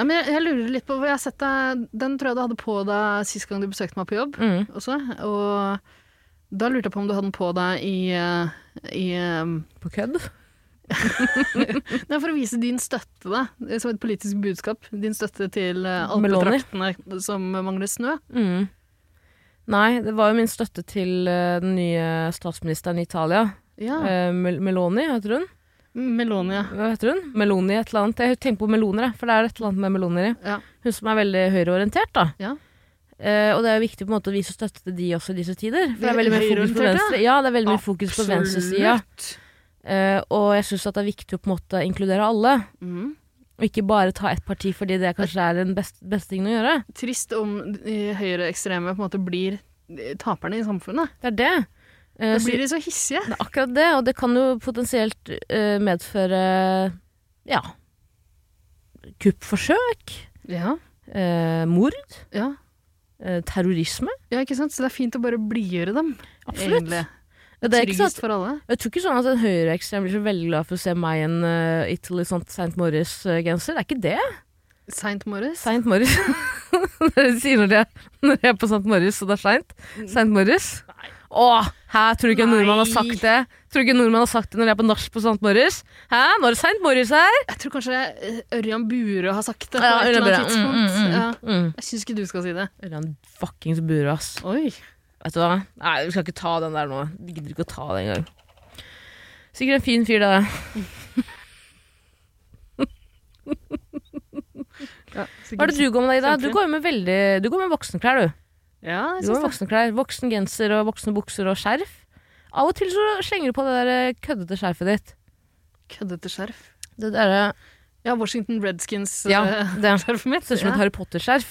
Speaker 2: Ja, men jeg, jeg, lurer litt på hvor jeg har sett deg Den tror jeg du hadde på deg sist gang du besøkte meg på jobb. Mm. Også, og da lurte jeg på om du hadde den på deg i, eh, i
Speaker 1: På kødd?
Speaker 2: Nei, for å vise din støtte, da. Som et politisk budskap. Din støtte til alpetraktene som mangler snø.
Speaker 1: Mm. Nei, det var jo min støtte til eh, den nye statsministeren i Italia. Ja. Eh, Mel Meloni, heter hun.
Speaker 2: Meloni, ja.
Speaker 1: Hva heter hun? Meloni et eller annet. Jeg tenker på meloner, for det er et eller annet med meloner i. Ja. Hun som er veldig høyreorientert, da. Ja. Eh, og det er jo viktig på en måte å vise støtte til de også i disse tider. For det er veldig mye fokus på venstre. Ja, det er veldig mye fokus på venstresida. Eh, og jeg syns det er viktig å på en måte inkludere alle. Mm. Og ikke bare ta ett parti fordi det kanskje er den beste, beste tingen å gjøre.
Speaker 2: Trist om høyreekstreme på en måte blir eh, taperne i samfunnet.
Speaker 1: Det er det. Eh,
Speaker 2: Da blir de så hissige.
Speaker 1: Det er akkurat det, og det kan jo potensielt eh, medføre ja kuppforsøk.
Speaker 2: Ja.
Speaker 1: Eh, mord.
Speaker 2: Ja.
Speaker 1: Eh, terrorisme.
Speaker 2: Ja, ikke sant? Så det er fint å bare blidgjøre dem.
Speaker 1: Absolutt. Egentlig.
Speaker 2: Det er Tryggest sånn, for alle.
Speaker 1: Jeg tror ikke sånn at en høyreekstrem blir så veldig glad for å se meg i en uh, Italy St. Morris-genser. Det er ikke det.
Speaker 2: Saint Morris?
Speaker 1: Saint Morris. det sier når jeg, når jeg er på Saint Morris, og det er seint. Saint Morris. Nei. Åh, hæ, tror du ikke en nordmann har sagt det? Tror du ikke en nordmann har sagt det når jeg er på nach på St. Morris? Hæ, nå er det St. Morris her!
Speaker 2: Jeg tror kanskje eh, Ørjan Burøe har sagt det på ja, et eller annet tidspunkt. Mm, mm, mm, ja. Jeg syns ikke du skal si det.
Speaker 1: Ørjan fuckings Burøe, ass.
Speaker 2: Oi.
Speaker 1: Vet du hva? Nei, vi skal ikke ta den der nå. Vi gidder ikke å ta den engang. Sikkert en fin fyr, det ja, Hva er det du går med deg i dag? Du går med, veldig, du går med voksenklær, du.
Speaker 2: Ja, jeg
Speaker 1: du har voksenklær. Voksen genser og voksne bukser og skjerf. Av og til så slenger du på det der eh, køddete skjerfet ditt.
Speaker 2: Køddete skjerf?
Speaker 1: Det derre
Speaker 2: Ja, Washington eh, Redskins-skjerfet
Speaker 1: ja, det.
Speaker 2: mitt.
Speaker 1: Ser ut som et Harry Potter-skjerf.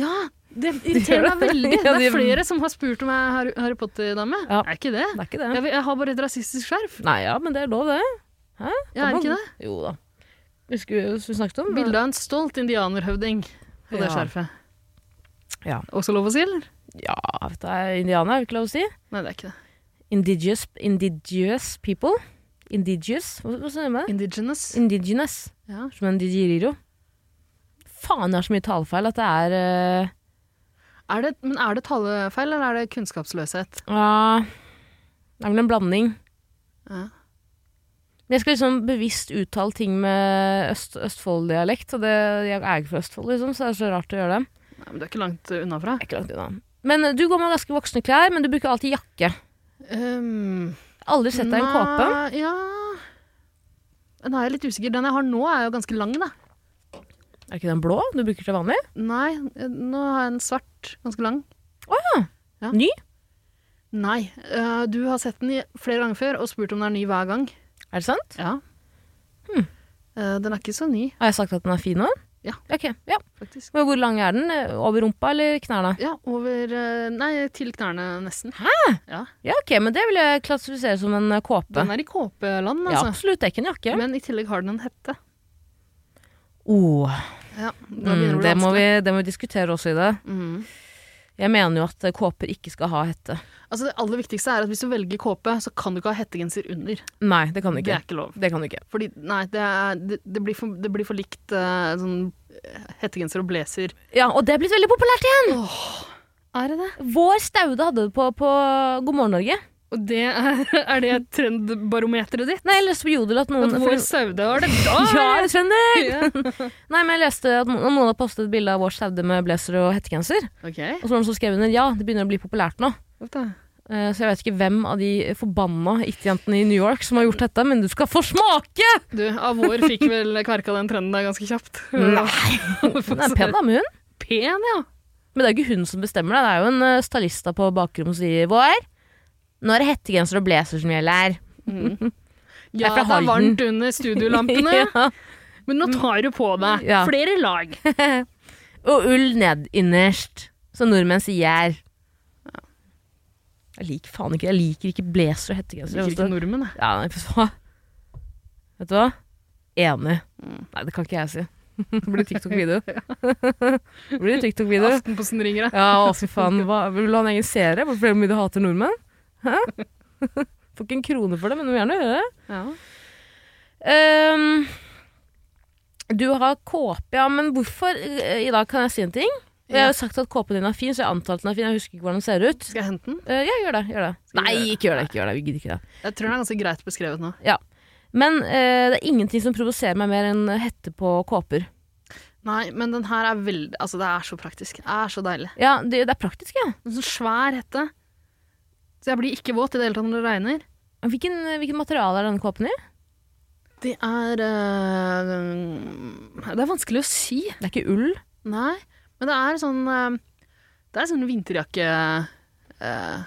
Speaker 2: Ja, det irriterer meg veldig. Det er flere som har spurt om jeg er Harry Potter-dame. Ja. Er ikke det?
Speaker 1: det, er ikke det.
Speaker 2: Jeg, jeg, har bare et rasistisk skjerf.
Speaker 1: Nei ja, men det er lov, det. Hæ?
Speaker 2: Ja, er ikke det?
Speaker 1: Jo da. Husker du vi snakket om?
Speaker 2: Bilde av en stolt indianerhøvding på det ja. skjerfet.
Speaker 1: Ja.
Speaker 2: Også lov å si, eller?
Speaker 1: Ja, vet du, indianer er jo ikke lov å si.
Speaker 2: Nei, det er ikke det.
Speaker 1: Indigenous, indigenous people. Indigenous, hva, hva sier man?
Speaker 2: Indigenous.
Speaker 1: Indigenous.
Speaker 2: Ja.
Speaker 1: Som en digiriro. Faen, jeg har så mye talefeil at det er uh...
Speaker 2: Er det, Men er det talefeil, eller er det kunnskapsløshet?
Speaker 1: Ja Det er vel en blanding.
Speaker 2: Ja.
Speaker 1: Men jeg skal liksom bevisst uttale ting med øst, Østfold-dialekt, og det, jeg er ikke fra Østfold, liksom, så det er så rart å gjøre det.
Speaker 2: Nei, men Du er ikke langt unna fra.
Speaker 1: Ikke langt unna. Men eh, Du går med ganske voksne klær, men du bruker alltid jakke.
Speaker 2: Um,
Speaker 1: Aldri sett deg i en kåpe?
Speaker 2: Ja Nå er jeg litt usikker. Den jeg har nå, er jo ganske lang, da.
Speaker 1: Er ikke den blå du bruker til vanlig?
Speaker 2: Nei, eh, nå har jeg en svart. Ganske lang.
Speaker 1: Å oh, ja. ja. Ny?
Speaker 2: Nei. Uh, du har sett den flere ganger før og spurt om den er ny hver gang.
Speaker 1: Er det sant?
Speaker 2: Ja.
Speaker 1: Hmm.
Speaker 2: Uh, den er ikke så ny.
Speaker 1: Har jeg sagt at den er fin nå?
Speaker 2: Ja.
Speaker 1: Okay, ja.
Speaker 2: Faktisk.
Speaker 1: Men hvor lang er den? Over rumpa eller knærne?
Speaker 2: Ja, over eh, Nei, til knærne, nesten.
Speaker 1: Hæ?!
Speaker 2: Ja,
Speaker 1: ja ok, men det vil jeg klassifisere som en eh, kåpe.
Speaker 2: Den er i kåpeland, altså.
Speaker 1: Ja, absolutt. Det er ikke en jakke.
Speaker 2: Men i tillegg har den en hette.
Speaker 1: Oh.
Speaker 2: Ja,
Speaker 1: mm, det, må vi, det, må vi, diskutere også i det.
Speaker 2: Mm.
Speaker 1: Jeg mener jo at eh, kåper ikke skal ha hette.
Speaker 2: Altså Det aller viktigste er at hvis du velger kåpe, så kan du ikke ha hettegenser under.
Speaker 1: Nei, det kan du ikke.
Speaker 2: Det er ikke lov.
Speaker 1: Det kan du ikke.
Speaker 2: Fordi, nei, det, er, det, det, blir, for, det blir, for, likt uh, sånn hettegenser og blazer.
Speaker 1: Ja, og det er blitt veldig populært igjen!
Speaker 2: Åh, er det det?
Speaker 1: Vår Staude hadde det på, på God morgen Norge.
Speaker 2: Og det er, er det trendbarometeret ditt?
Speaker 1: Nei, jeg leste på Jodel at noen
Speaker 2: At vår saude har det
Speaker 1: bra! ja, jeg er trønder! Yeah. Nei, men jeg leste at noen, noen hadde postet et bilde av vår saude med blazer og hettegenser.
Speaker 2: Okay.
Speaker 1: Og så var det noen som skrev under ja, det begynner å bli populært nå.
Speaker 2: Hva
Speaker 1: Eh, så jeg vet ikke hvem av de forbanna it-jentene i New York som har gjort dette, men du skal få smake!
Speaker 2: Du, av vår fikk vel kverka den trenden der ganske kjapt.
Speaker 1: Nei! Hun er pen, da, med hun.
Speaker 2: Pen, ja.
Speaker 1: Men det er jo ikke hun som bestemmer det, det er jo en eh, stylista på bakrommet som sier vår. Nå er det hettegenser og blazer som gjelder her.
Speaker 2: Mm. Ja, det er varmt under studiolampene, ja. men nå tar du på deg
Speaker 1: Ja.
Speaker 2: flere lag.
Speaker 1: Og ull ned innerst, som nordmenn sier. Jeg liker faen ikke Jeg liker ikke blazer og
Speaker 2: Liker
Speaker 1: hettegenser.
Speaker 2: ikke nordmenn, jeg.
Speaker 1: Ja, nei, vet du hva? Vet du hva? Enig. Nei, det kan ikke jeg si. Det blir TikTok-video. Det blir TikTok-video.
Speaker 2: Aftenposten ringer deg.
Speaker 1: Ja, å fy faen. Hva, vil du ha en egen serie? Hvorfor er det mye du hater nordmenn? Hæ? Får ikke en krone for det, men du må gjerne gjøre det.
Speaker 2: Ja.
Speaker 1: Ehm, du har kåpe, ja, men hvorfor eh, I dag kan jeg si en ting. Jeg har jo sagt at kåpen din er fin, så jeg antar at den er fin. Jeg husker ikke hvordan den ser ut.
Speaker 2: Skal jeg hente den?
Speaker 1: Eh, ja, gjør det. gjør det.
Speaker 2: Skal vi
Speaker 1: Nei,
Speaker 2: gjøre det?
Speaker 1: ikke gjør det. ikke gjør det, Vi gidder ikke det.
Speaker 2: Jeg tror den er ganske greit beskrevet nå.
Speaker 1: Men eh, det er ingenting som provoserer meg mer enn hette på kåper.
Speaker 2: Nei, men den her er veldig Altså, det er så praktisk. Det er så deilig.
Speaker 1: Ja, det, det er praktisk, ja.
Speaker 2: En sånn svær hette. Så jeg blir ikke våt i det hele tatt når det regner.
Speaker 1: Hvilken, hvilken materiale er denne kåpen i?
Speaker 2: Det er eh, Det er vanskelig å si.
Speaker 1: Det er ikke ull.
Speaker 2: Nei, men det er sånn eh, Det er sånn vinterjakke eh,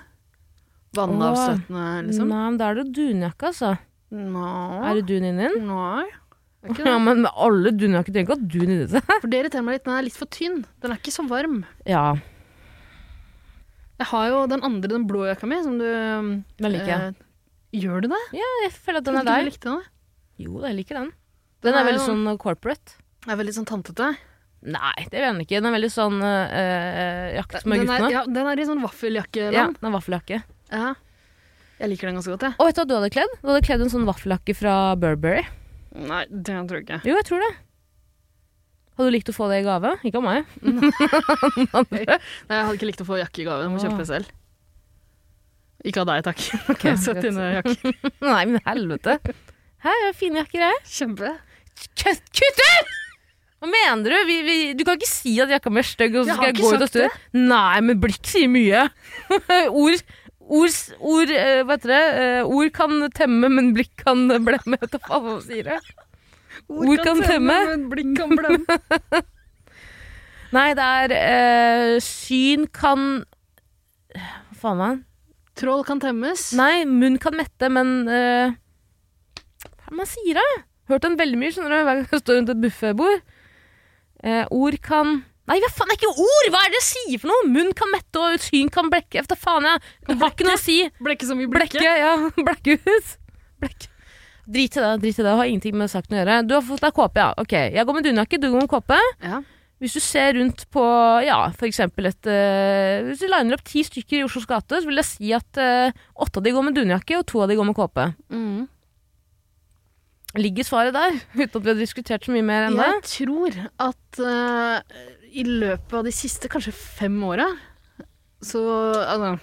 Speaker 2: Vannavstøtende, liksom.
Speaker 1: Nei, men da er det jo dunjakke, altså.
Speaker 2: Nå
Speaker 1: Er det dun inni den?
Speaker 2: Nei. Det er ikke
Speaker 1: Ja, men alle dunjakker trenger ikke å ha dun inni seg.
Speaker 2: det. For det irriterer meg litt. Den er litt for tynn. Den er ikke så varm.
Speaker 1: Ja,
Speaker 2: Jeg har jo den andre, den blå jakka mi, som du
Speaker 1: den liker jeg.
Speaker 2: eh, Gjør du det?
Speaker 1: Eh, Jeg føler at den
Speaker 2: Tror
Speaker 1: er
Speaker 2: ikke du
Speaker 1: deg.
Speaker 2: likte den?
Speaker 1: Jo, jeg liker den. Den er
Speaker 2: er
Speaker 1: veldig
Speaker 2: jo-
Speaker 1: sånn corporate.
Speaker 2: Den er veldig sånn tantete.
Speaker 1: Nei, det vil jeg ikke. Den er veldig sånn eh, jakt med
Speaker 2: Den er,
Speaker 1: guttene.
Speaker 2: ja, den er i sånn
Speaker 1: Ja,
Speaker 2: vaffeljakkeland.
Speaker 1: den er vaffeljakke.
Speaker 2: Ja. Jeg liker den ganske godt, jeg.
Speaker 1: Og vet du hva du hadde kledd? Du hadde kledd en sånn vaffeljakke fra Burberry.
Speaker 2: Nei, det tror jeg ikke.
Speaker 1: Jo, jeg tror det. Hadde du likt å få det i gave? Ikke av meg.
Speaker 2: Nei, jeg hadde ikke likt å få jakke i gave. Jeg må
Speaker 1: Åh.
Speaker 2: kjøpe det selv. Ikke av deg, takk.
Speaker 1: Ok,
Speaker 2: Sett
Speaker 1: greit.
Speaker 2: dine jakker.
Speaker 1: Nei, men helvete. Hæ, jeg har fine jakker her.
Speaker 2: Kjempe.
Speaker 1: Kutt kutt ut! Hva mener du? Vi, vi, du kan ikke si at jakka mi er stygg, og så
Speaker 2: Jeg
Speaker 1: skal
Speaker 2: har
Speaker 1: jeg
Speaker 2: ikke
Speaker 1: gå ut og
Speaker 2: sagt
Speaker 1: stå Nei, men blikk sier mye. ord Ord, ord, eh, hva heter det? Eh, ord kan temme, men blikk kan blemme. Vet du faen hva man sier? det? Ord kan temme.
Speaker 2: men Blikk kan blemme.
Speaker 1: Nei, det er eh, Syn kan eh, Hva faen var det?
Speaker 2: Troll kan temmes.
Speaker 1: Nei, munn kan mette, men eh, Hva er det man sier, da? Hørt den veldig mye, skjønner du, hver gang jeg står rundt et buffébord. Eh, ord kan Nei, hva faen, det er ikke ord! Hva er det jeg sier for noe? Munn kan mette, og syn kan blekke. Hva faen, jeg Det har ikke noe å si.
Speaker 2: Blekke som i
Speaker 1: Blekke,
Speaker 2: blekket.
Speaker 1: ja. Blekke ut. Blekk. Drit i det, drit i det. Har ingenting med saken å gjøre. Du har fått deg kåpe, ja. Ok, jeg går med dunjakke, du går med kåpe.
Speaker 2: Ja.
Speaker 1: Hvis du ser rundt på ja, for eksempel et eh, Hvis du liner opp ti stykker i Oslos gate, så vil jeg si at eh, åtte av de går med dunjakke, og to av de går med kåpe.
Speaker 2: Mm.
Speaker 1: Ligger svaret der? Uten at vi har diskutert så mye mer ennå.
Speaker 2: Jeg tror at eh, i løpet av de siste kanskje fem åra, så altså,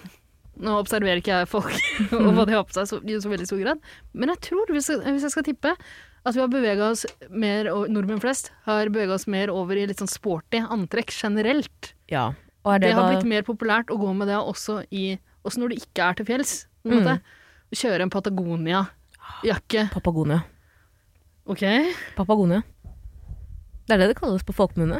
Speaker 2: Nå observerer ikke jeg folk og hva de har på seg så, i så veldig stor grad, men jeg tror, hvis jeg, hvis jeg skal tippe, at vi har bevega oss mer, og nordmenn flest har bevega oss mer over i litt sånn sporty antrekk generelt.
Speaker 1: Ja. Og er
Speaker 2: Det,
Speaker 1: det,
Speaker 2: har
Speaker 1: da-
Speaker 2: blitt mer populært å gå med det også, i, også når du ikke er til fjells. på en
Speaker 1: Mm.
Speaker 2: måte. Kjøre en Patagonia-jakke.
Speaker 1: Papagonia.
Speaker 2: Ok,
Speaker 1: Papagonia. Det er det det kalles på folkemunne.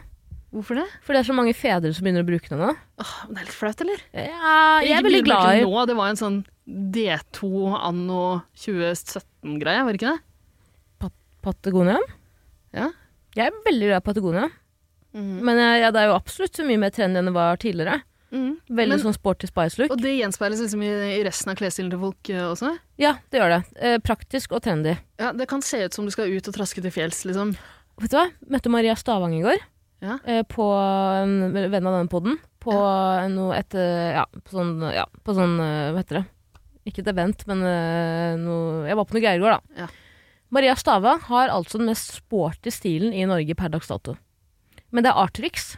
Speaker 2: hvorfor det?
Speaker 1: For det er så mange fedre som begynner å bruke det nå.
Speaker 2: Åh, men det er litt flaut, eller?
Speaker 1: Ja, jeg er veldig
Speaker 2: Ikke
Speaker 1: glad i
Speaker 2: bruke Nå, det var en sånn D2 anno 2017-greie, var det ikke det?
Speaker 1: Patagonia.
Speaker 2: Ja.
Speaker 1: Jeg er veldig glad i Patagonia.
Speaker 2: Mhm.
Speaker 1: Men jeg, jeg, det er jo absolutt så mye mer trendy enn det var tidligere. Veldig
Speaker 2: Men-
Speaker 1: sånn sporty spice-look.
Speaker 2: Og det gjenspeiles liksom i, i resten av klesstilen til folk eh, også?
Speaker 1: Ja, det gjør det. Eh, praktisk og trendy.
Speaker 2: Ja, Det kan se ut som du skal ut og traske til fjells, liksom.
Speaker 1: Vet du hva? Møtte Maria Stavang i går.
Speaker 2: Ja.
Speaker 1: Eh, på en venn av denne podden. På noe et eh, Ja, på sånn, ja, på sånn eh, Hva heter det? Ikke et event, men eh, noe Jeg var på noe greier i går, da.
Speaker 2: Ja.
Speaker 1: Maria Stavang har altså den mest sporty stilen i Norge per dags dato. Men det er Artrix.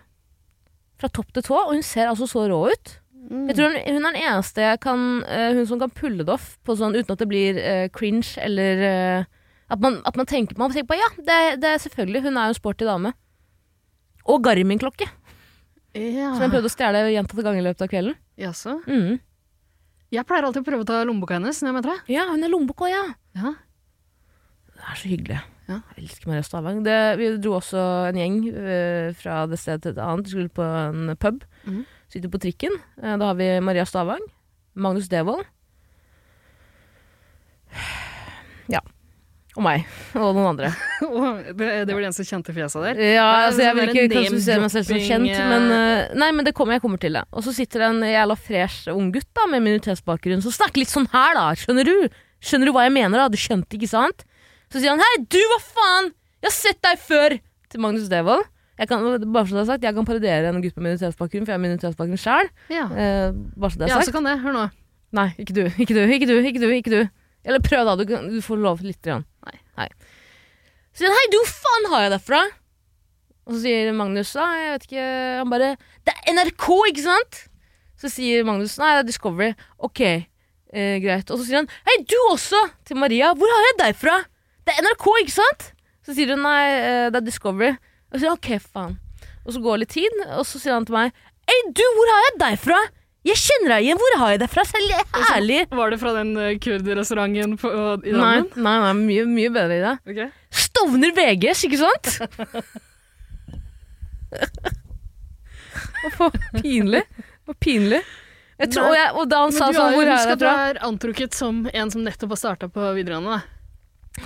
Speaker 1: Fra topp til tå, og hun ser altså så rå ut.
Speaker 2: Mm.
Speaker 1: Jeg tror hun, hun er den eneste jeg kan, eh, hun som kan pulle det off på sånn, uten at det blir eh, cringe eller eh, at, man, at man tenker man tenker på Ja, det, det er selvfølgelig. Hun er jo en sporty dame. Og Garmin-klokke,
Speaker 2: Ja.
Speaker 1: som jeg prøvde å stjele gjentatte ganger i løpet av kvelden.
Speaker 2: Jaså.
Speaker 1: Mm.
Speaker 2: Jeg pleier alltid å prøve å ta lommeboka hennes når jeg møter deg.
Speaker 1: Ja, hun er lommebok òg, ja.
Speaker 2: Ja.
Speaker 1: Det er så hyggelig.
Speaker 2: Ja.
Speaker 1: Jeg elsker Maria Stavang. Det, vi dro også en gjeng eh, fra det stedet til et annet. Vi skulle på en pub.
Speaker 2: Mhm.
Speaker 1: Sitter på trikken. Eh, da har vi Maria Stavang, Magnus Devold Ja. Og meg. Og noen andre.
Speaker 2: det, det var den som kjente fjesa der?
Speaker 1: Ja, altså jeg vil ikke klassifisere meg selv som kjent, men, uh, nei, men det kommer, jeg kommer til det. Og så sitter det en jævla fresh ung gutt da, med minoritetsbakgrunn som snakker litt sånn her, da. Skjønner du? Skjønner du hva jeg mener, da? Du skjønte, ikke sant? Så sier han 'hei, du, hva faen? Jeg har sett deg før!' til Magnus Devold. Jeg kan, bare så det er sagt, jeg kan parodiere en gutt med minoritetsbakgrunn, for jeg har minoritetsbakgrunn sjøl.
Speaker 2: Ja.
Speaker 1: Eh, bare så det er
Speaker 2: ja,
Speaker 1: sagt.
Speaker 2: så kan det. Hør nå.
Speaker 1: Nei, ikke du. Ikke du, ikke du, ikke du. ikke du Eller prøv, da. Du, kan- du får lov litt. Grann.
Speaker 2: Nei.
Speaker 1: Så sier han 'hei, du, faen har jeg derfra?' Og så sier Magnus da, jeg vet ikke Han bare 'det er NRK, ikke sant?' Så sier Magnus nei, det er Discovery. Ok, eh, greit. Og så sier han 'hei, du også', til Maria. 'Hvor har jeg deg fra?' 'Det er NRK, ikke sant?' Så sier hun nei, eh, det er Discovery. Og så sier han ok, faen. Og så går det litt tid, og så sier han til meg 'hei, du, hvor har jeg deg fra?' 'Jeg kjenner deg igjen, hvor har jeg deg fra?' Selv ærlig.
Speaker 2: Var det fra den eh, kurderrestauranten på- i
Speaker 1: Nei,
Speaker 2: Drammen?
Speaker 1: nei, nei, mye, mye bedre i det.
Speaker 2: Ok.
Speaker 1: Stovner VGs, ikke sant? Det var pinlig. Det var pinlig. Jeg tror,
Speaker 2: Nei,
Speaker 1: og, jeg, og da han
Speaker 2: Men
Speaker 1: sa
Speaker 2: du
Speaker 1: sånn
Speaker 2: har jo
Speaker 1: Hvor er
Speaker 2: husk
Speaker 1: det
Speaker 2: at du
Speaker 1: fra?
Speaker 2: er antrukket som en som nettopp har starta på videregående. Da.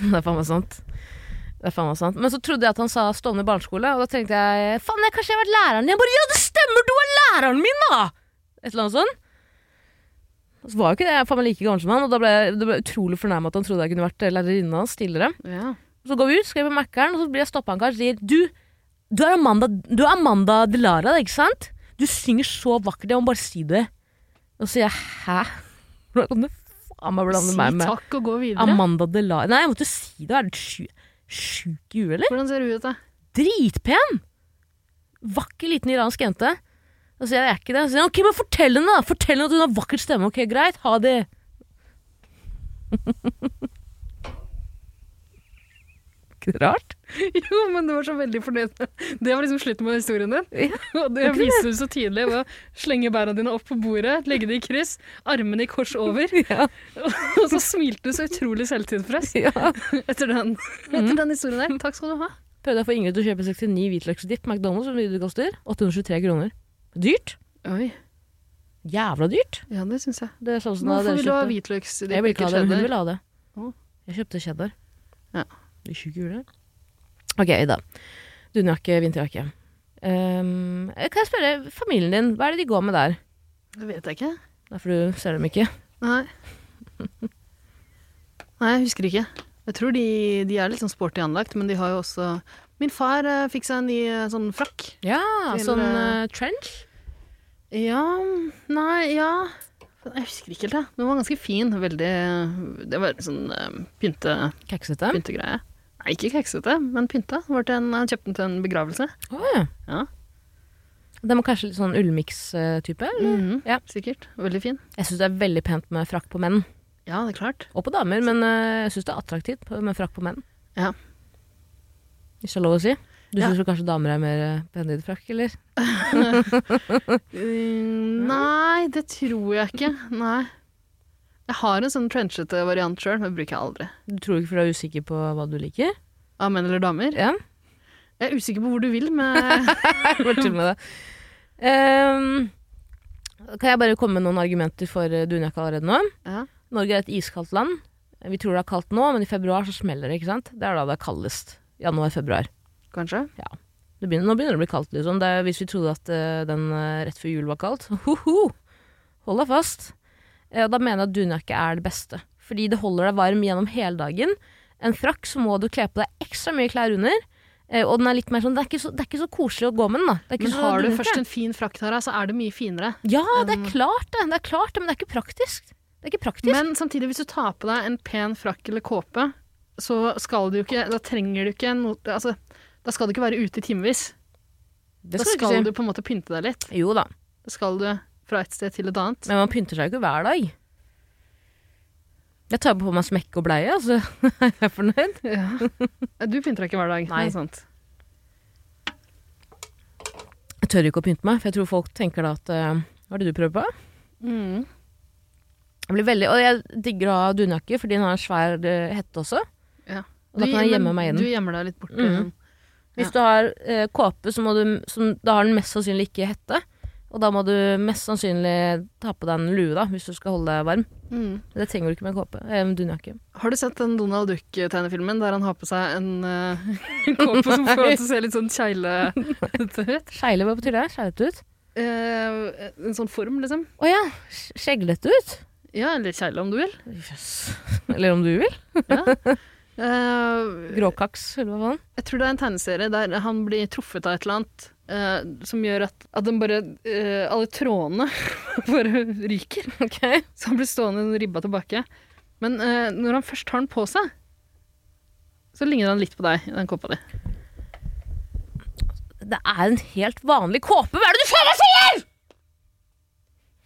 Speaker 1: Det er faen meg sant. Det er faen meg sant. Men så trodde jeg at han sa Stovner barneskole, og da tenkte jeg faen, jeg kanskje jeg har vært læreren din. Jeg bare ja, det stemmer, du er læreren min, da! Et eller annet sånt. Og så var jo ikke det. Jeg er faen meg like gammel som han, og da ble jeg det ble jeg utrolig fornærma at han trodde jeg kunne vært lærerinnen hans tidligere.
Speaker 2: Ja.
Speaker 1: Så går vi ut, skal jeg på Mækkern, og så blir jeg stoppa av en kar som sier du, du er Amanda, du er Amanda Delara, ikke sant? Du synger så vakkert, jeg må bare si det. Og så sier jeg hæ? Hvordan kan du faen meg blande
Speaker 2: Si
Speaker 1: meg med
Speaker 2: takk og gå videre.
Speaker 1: Amanda Delara? Nei, jeg måtte si det. Er du sju- sjuk i huet, eller?
Speaker 2: Hvordan ser hun ut, da?
Speaker 1: Dritpen! Vakker liten iransk jente. Og så sier jeg jeg er ikke det. Så sier han ok, men fortell henne, da! Fortell henne at hun har vakker stemme. Ok, greit, ha det. Ikke det rart?
Speaker 2: Jo, men du var så veldig fornøyd. Det var liksom slutten på historien din. Og det
Speaker 1: ikke det?
Speaker 2: viste du så tydelig ved å slenge bæra dine opp på bordet, legge de i kryss, armene i kors over,
Speaker 1: Ja.
Speaker 2: og så smilte du så utrolig selvtilfreds
Speaker 1: ja.
Speaker 2: etter den, etter den historien der. Takk skal du ha.
Speaker 1: Prøvde jeg å få Ingrid til å kjøpe 69 hvitløksdipp på McDonald's, hvor mye det koster. 823 kroner. Dyrt.
Speaker 2: Oi,
Speaker 1: Jævla dyrt.
Speaker 2: ja, det syns jeg.
Speaker 1: Det er sånn som da
Speaker 2: Hvorfor
Speaker 1: dere
Speaker 2: vil du ha
Speaker 1: kjøpte.
Speaker 2: hvitløksdipp?
Speaker 1: Jeg vil ikke ha det, men hun vil ha det.
Speaker 2: Å.
Speaker 1: Jeg kjøpte cheddar.
Speaker 2: Ja.
Speaker 1: Det er sjuke juler. Ok, Ida. Dunjakke, vinterjakke. Ehm, kan jeg spørre, familien din, hva er det de går med der?
Speaker 2: Det vet jeg ikke.
Speaker 1: Derfor du ser dem ikke.
Speaker 2: Nei. Nei, jeg husker ikke. Jeg tror de, de er litt sånn sporty anlagt, men de har jo også Min far eh, fikk seg en ny eh, sånn frakk.
Speaker 1: Ja,
Speaker 2: Til,
Speaker 1: sånn
Speaker 2: eh,
Speaker 1: eh, trench.
Speaker 2: Ja Nei, ja Jeg husker ikke helt, jeg. Den var ganske fin. Veldig Det var sånn eh, pynte,
Speaker 1: Keksete.
Speaker 2: pyntegreie. Nei, ikke keksete, men pynta. Det var til en- Han kjøpte den til en begravelse.
Speaker 1: Å ja.
Speaker 2: Ja.
Speaker 1: Den var kanskje litt sånn ullmiks-type? eller?
Speaker 2: Mhm,
Speaker 1: Ja.
Speaker 2: Sikkert. Veldig fin.
Speaker 1: Jeg syns det er veldig pent med frakk på menn.
Speaker 2: Ja, det er klart.
Speaker 1: Og på damer, men eh, jeg syns det er attraktivt på- med frakk på menn.
Speaker 2: Ja.
Speaker 1: Hvis det er lov å si. Du
Speaker 2: Ja.
Speaker 1: syns kanskje damer er mer eh, pene i frakk, eller?
Speaker 2: Mm, nei, det tror jeg ikke. Nei. Jeg har en sånn trenchete variant sjøl, men bruker jeg aldri.
Speaker 1: Du tror ikke for du er usikker på hva du liker?
Speaker 2: Av menn eller damer?
Speaker 1: Ja,
Speaker 2: Jeg er usikker på hvor du vil med
Speaker 1: bare tull med det. Ehm, kan jeg bare komme med noen argumenter for eh, dunjakka allerede nå?
Speaker 2: ja.
Speaker 1: Norge er et iskaldt land. Vi tror det er kaldt nå, men i februar så smeller det, ikke sant? Det er da det er kaldest. Januar-februar.
Speaker 2: Kanskje?
Speaker 1: Det begynner, nå begynner det å bli kaldt, liksom. Det er, hvis vi trodde at eh, den eh, rett før jul var kaldt, hoho, hold deg fast. Eh, og da mener jeg at dunjakke er det beste. Fordi det holder deg varm gjennom hele dagen. En frakk så må du kle på deg ekstra mye klær under. eh, og den er litt mer sånn, det er ikke så, det er ikke så koselig å gå med den, da. Det er ikke
Speaker 2: Men
Speaker 1: så
Speaker 2: har du
Speaker 1: dunjakke.
Speaker 2: først en fin frakk, Tara, så er det mye finere.
Speaker 1: Ja, det er klart det. Det er klart det, men det er ikke praktisk. Det er ikke praktisk.
Speaker 2: Men samtidig, hvis du tar på deg en pen frakk eller kåpe, så skal du jo ikke Da trenger du ikke noe altså, Da skal du ikke være ute i timevis. Da skal,
Speaker 1: ikke
Speaker 2: du på en måte pynte deg litt.
Speaker 1: Jo da,
Speaker 2: Da skal du fra et sted til et annet.
Speaker 1: men man pynter seg jo ikke hver dag. Jeg tar på meg smekk og bleie, altså. Jeg er fornøyd.
Speaker 2: Du pynter deg ikke hver dag.
Speaker 1: Nei.
Speaker 2: det er sant.
Speaker 1: Jeg tør ikke å pynte meg, for jeg tror folk tenker da at eh, Hva er det du prøver på?
Speaker 2: Mm.
Speaker 1: Jeg blir veldig, og jeg digger å ha dunjakke, fordi den har en svær eh, hette også.
Speaker 2: Ja.
Speaker 1: Og da kan jeg gjemme
Speaker 2: men
Speaker 1: meg i
Speaker 2: Du
Speaker 1: den.
Speaker 2: gjemmer deg litt borti
Speaker 1: Mm.
Speaker 2: den.
Speaker 1: Hvis du har eh, kåpe, så må du, som, da har den mest sannsynlig ikke hette. Og da må du mest sannsynlig ta på deg en lue, da, hvis du skal holde deg varm. Mm. Det trenger du ikke med en kåpe. Eh, dunjakke.
Speaker 2: Har du sett den Donald Duck-tegnefilmen der han har på seg en uh, kåpe som får han til å se litt sånn keglete
Speaker 1: ut? Skeile, hva betyr det? Skeilete ut?
Speaker 2: Eh, en sånn form, liksom.
Speaker 1: Å oh, ja. Skjeglete ut?
Speaker 2: Ja, eller kjegle om du vil.
Speaker 1: Yes. Eller om du vil. ja. Uh, Gråkaks, eller hva faen?
Speaker 2: Eh, Jeg tror det er en tegneserie der han blir truffet av et eller annet uh, som gjør at, at bare, uh, Alle trådene bare ryker. Okay. Så han blir stående i ribba tilbake. Men eh, når han først har den på seg, så ligner han litt på deg i den kåpa di.
Speaker 1: Det er en helt vanlig kåpe! Hva er det du faen meg sier?! Hva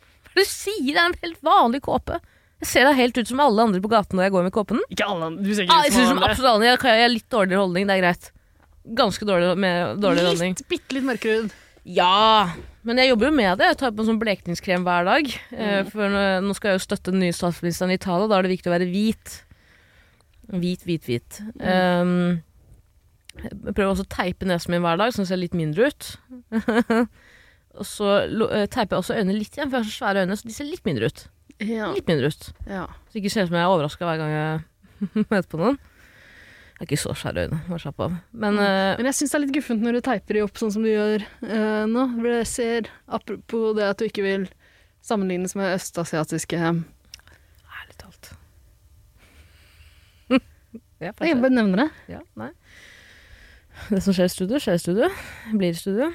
Speaker 1: er det du sier? Det er en helt vanlig kåpe. Jeg ser da helt ut som alle andre på gaten når jeg går med kåpen.
Speaker 2: Ikke alle,
Speaker 1: du ser ikke ah, jeg ser ut som andre. absolutt alle. Jeg har litt dårligere holdning, det er greit. Ganske dårlig, med, dårlig
Speaker 2: litt,
Speaker 1: holdning.
Speaker 2: Bitte litt mørkerud.
Speaker 1: Ja, men jeg jobber jo med det. Jeg tar på en sånn blekningskrem hver dag. Mm. For nå skal jeg jo støtte den nye statsministeren i Italia, da er det viktig å være hvit. Hvit, hvit, hvit. Mm. Um, jeg prøver også å teipe nesen min hver dag, så den ser litt mindre ut. og så eh, teiper jeg også øynene litt igjen, for jeg har så svære øyne, så de ser litt mindre ut. Ja. Litt mindre ut. Ja. Så det ikke ser ut som jeg er overraska hver gang jeg møter på noen. Jeg er ikke så skjær øyne, bare slapp av. eh,
Speaker 2: Men, mm. uh, Men jeg syns det er litt guffent når du teiper de opp sånn som du gjør uh, nå. For jeg ser, apropos det at du ikke vil sammenlignes med østasiatiske um.
Speaker 1: Ærlig talt.
Speaker 2: ja, jeg bare nevner det.
Speaker 1: Ja, nei. Det som skjer i studio, skjer i studio. Blir i studio.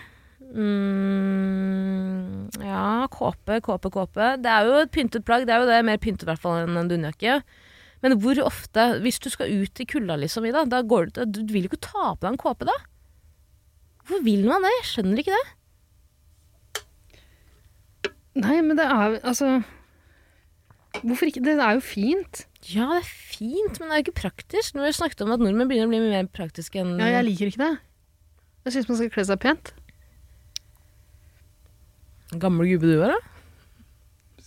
Speaker 1: Mm, ja, kåpe, kåpe, kåpe. Det er jo et pyntet plagg. Det er jo det, mer pyntet i hvert fall enn en dunjakke. Men hvor ofte, hvis du skal ut i kulda liksom, Ida, da går du, du vil jo ikke ta på deg en kåpe da? Hvorfor vil man det? Jeg skjønner ikke det.
Speaker 2: Nei, men det er altså Hvorfor ikke? Det er jo fint.
Speaker 1: Ja, det er fint, men det er jo ikke praktisk. Nå har vi snakket om at nordmenn begynner å bli mer praktiske enn
Speaker 2: Ja, jeg liker ikke det. Jeg syns man skal kle seg pent.
Speaker 1: Gammel gubbe du er, da?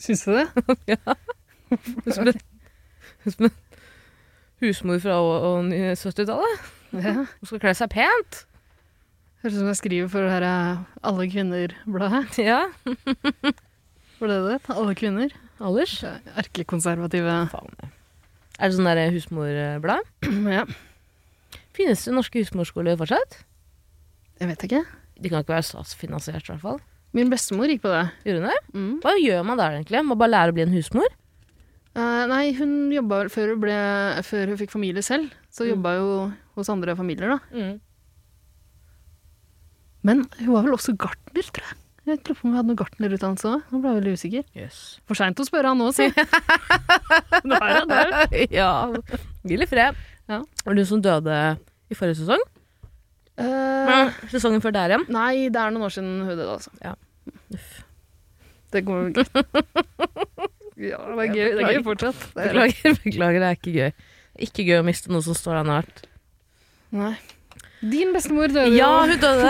Speaker 2: Syns du det?
Speaker 1: ja. Som en, som en husmor fra 70-tallet. Ja. Hun skal kle seg pent.
Speaker 2: Høres ut som jeg skriver for det her eh, Alle kvinner-bladet.
Speaker 1: Ja.
Speaker 2: Var det det? Alle kvinner?
Speaker 1: Alders?
Speaker 2: Erkekonservative
Speaker 1: Er det sånn derre husmorblad?
Speaker 2: ja.
Speaker 1: Finnes det norske husmorskoler fortsatt?
Speaker 2: Jeg vet ikke.
Speaker 1: De kan ikke være statsfinansiert, i hvert fall.
Speaker 2: Min bestemor gikk på det.
Speaker 1: Gjorde hun det? Mm. Hva gjør man der egentlig? Må bare lære å bli en husmor?
Speaker 2: Uh, nei, hun jobba før hun, ble, før hun fikk familie selv. Så mm. jobba jo hos andre familier, da. Mm. Men hun var vel også gartner, tror jeg. Jeg lurer på om hun hadde noe gartnerutdannelse òg. Nå ble jeg veldig usikker.
Speaker 1: Yes.
Speaker 2: For seint å spørre han nå, si. det er han der.
Speaker 1: Ja. Hvil i fred. Ja. Var det hun som døde i forrige sesong? Uh, sesongen før der igjen?
Speaker 2: Eh, Nei, det er noen år siden hun døde, altså.
Speaker 1: Ja.
Speaker 2: Det går jo greit. ja, det er gøy, det er gøy fortsatt.
Speaker 1: Det er beklager, beklager, det er ikke gøy. Ikke gøy å miste noe som står deg nært.
Speaker 2: Nei. Din bestemor døde
Speaker 1: jo. Ja, hun døde.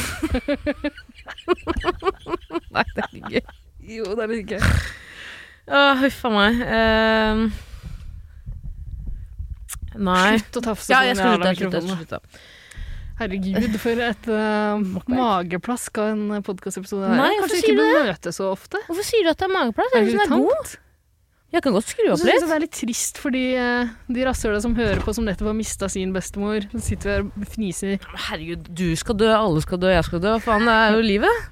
Speaker 1: Uh... Nei, det er ikke gøy.
Speaker 2: Jo, det er litt gøy.
Speaker 1: Å, huff a meg. Uh... Nei.
Speaker 2: Slutt å tafse
Speaker 1: ja, jeg skal slutte. Jeg slutte.
Speaker 2: Herregud, for et uh, mageplask av en eh, podkastepisode.
Speaker 1: Kanskje
Speaker 2: vi ikke bør møte så ofte.
Speaker 1: Hvorfor sier du at det er mageplask? Er det sånn god? Jeg kan godt skru opp
Speaker 2: litt. Det er litt trist for de, de rasshøla som hører på, som nettopp har mista sin bestemor. Så sitter vi her og fniser.
Speaker 1: Herregud, du skal dø, alle skal dø, jeg skal dø. Hva faen, det er jo livet.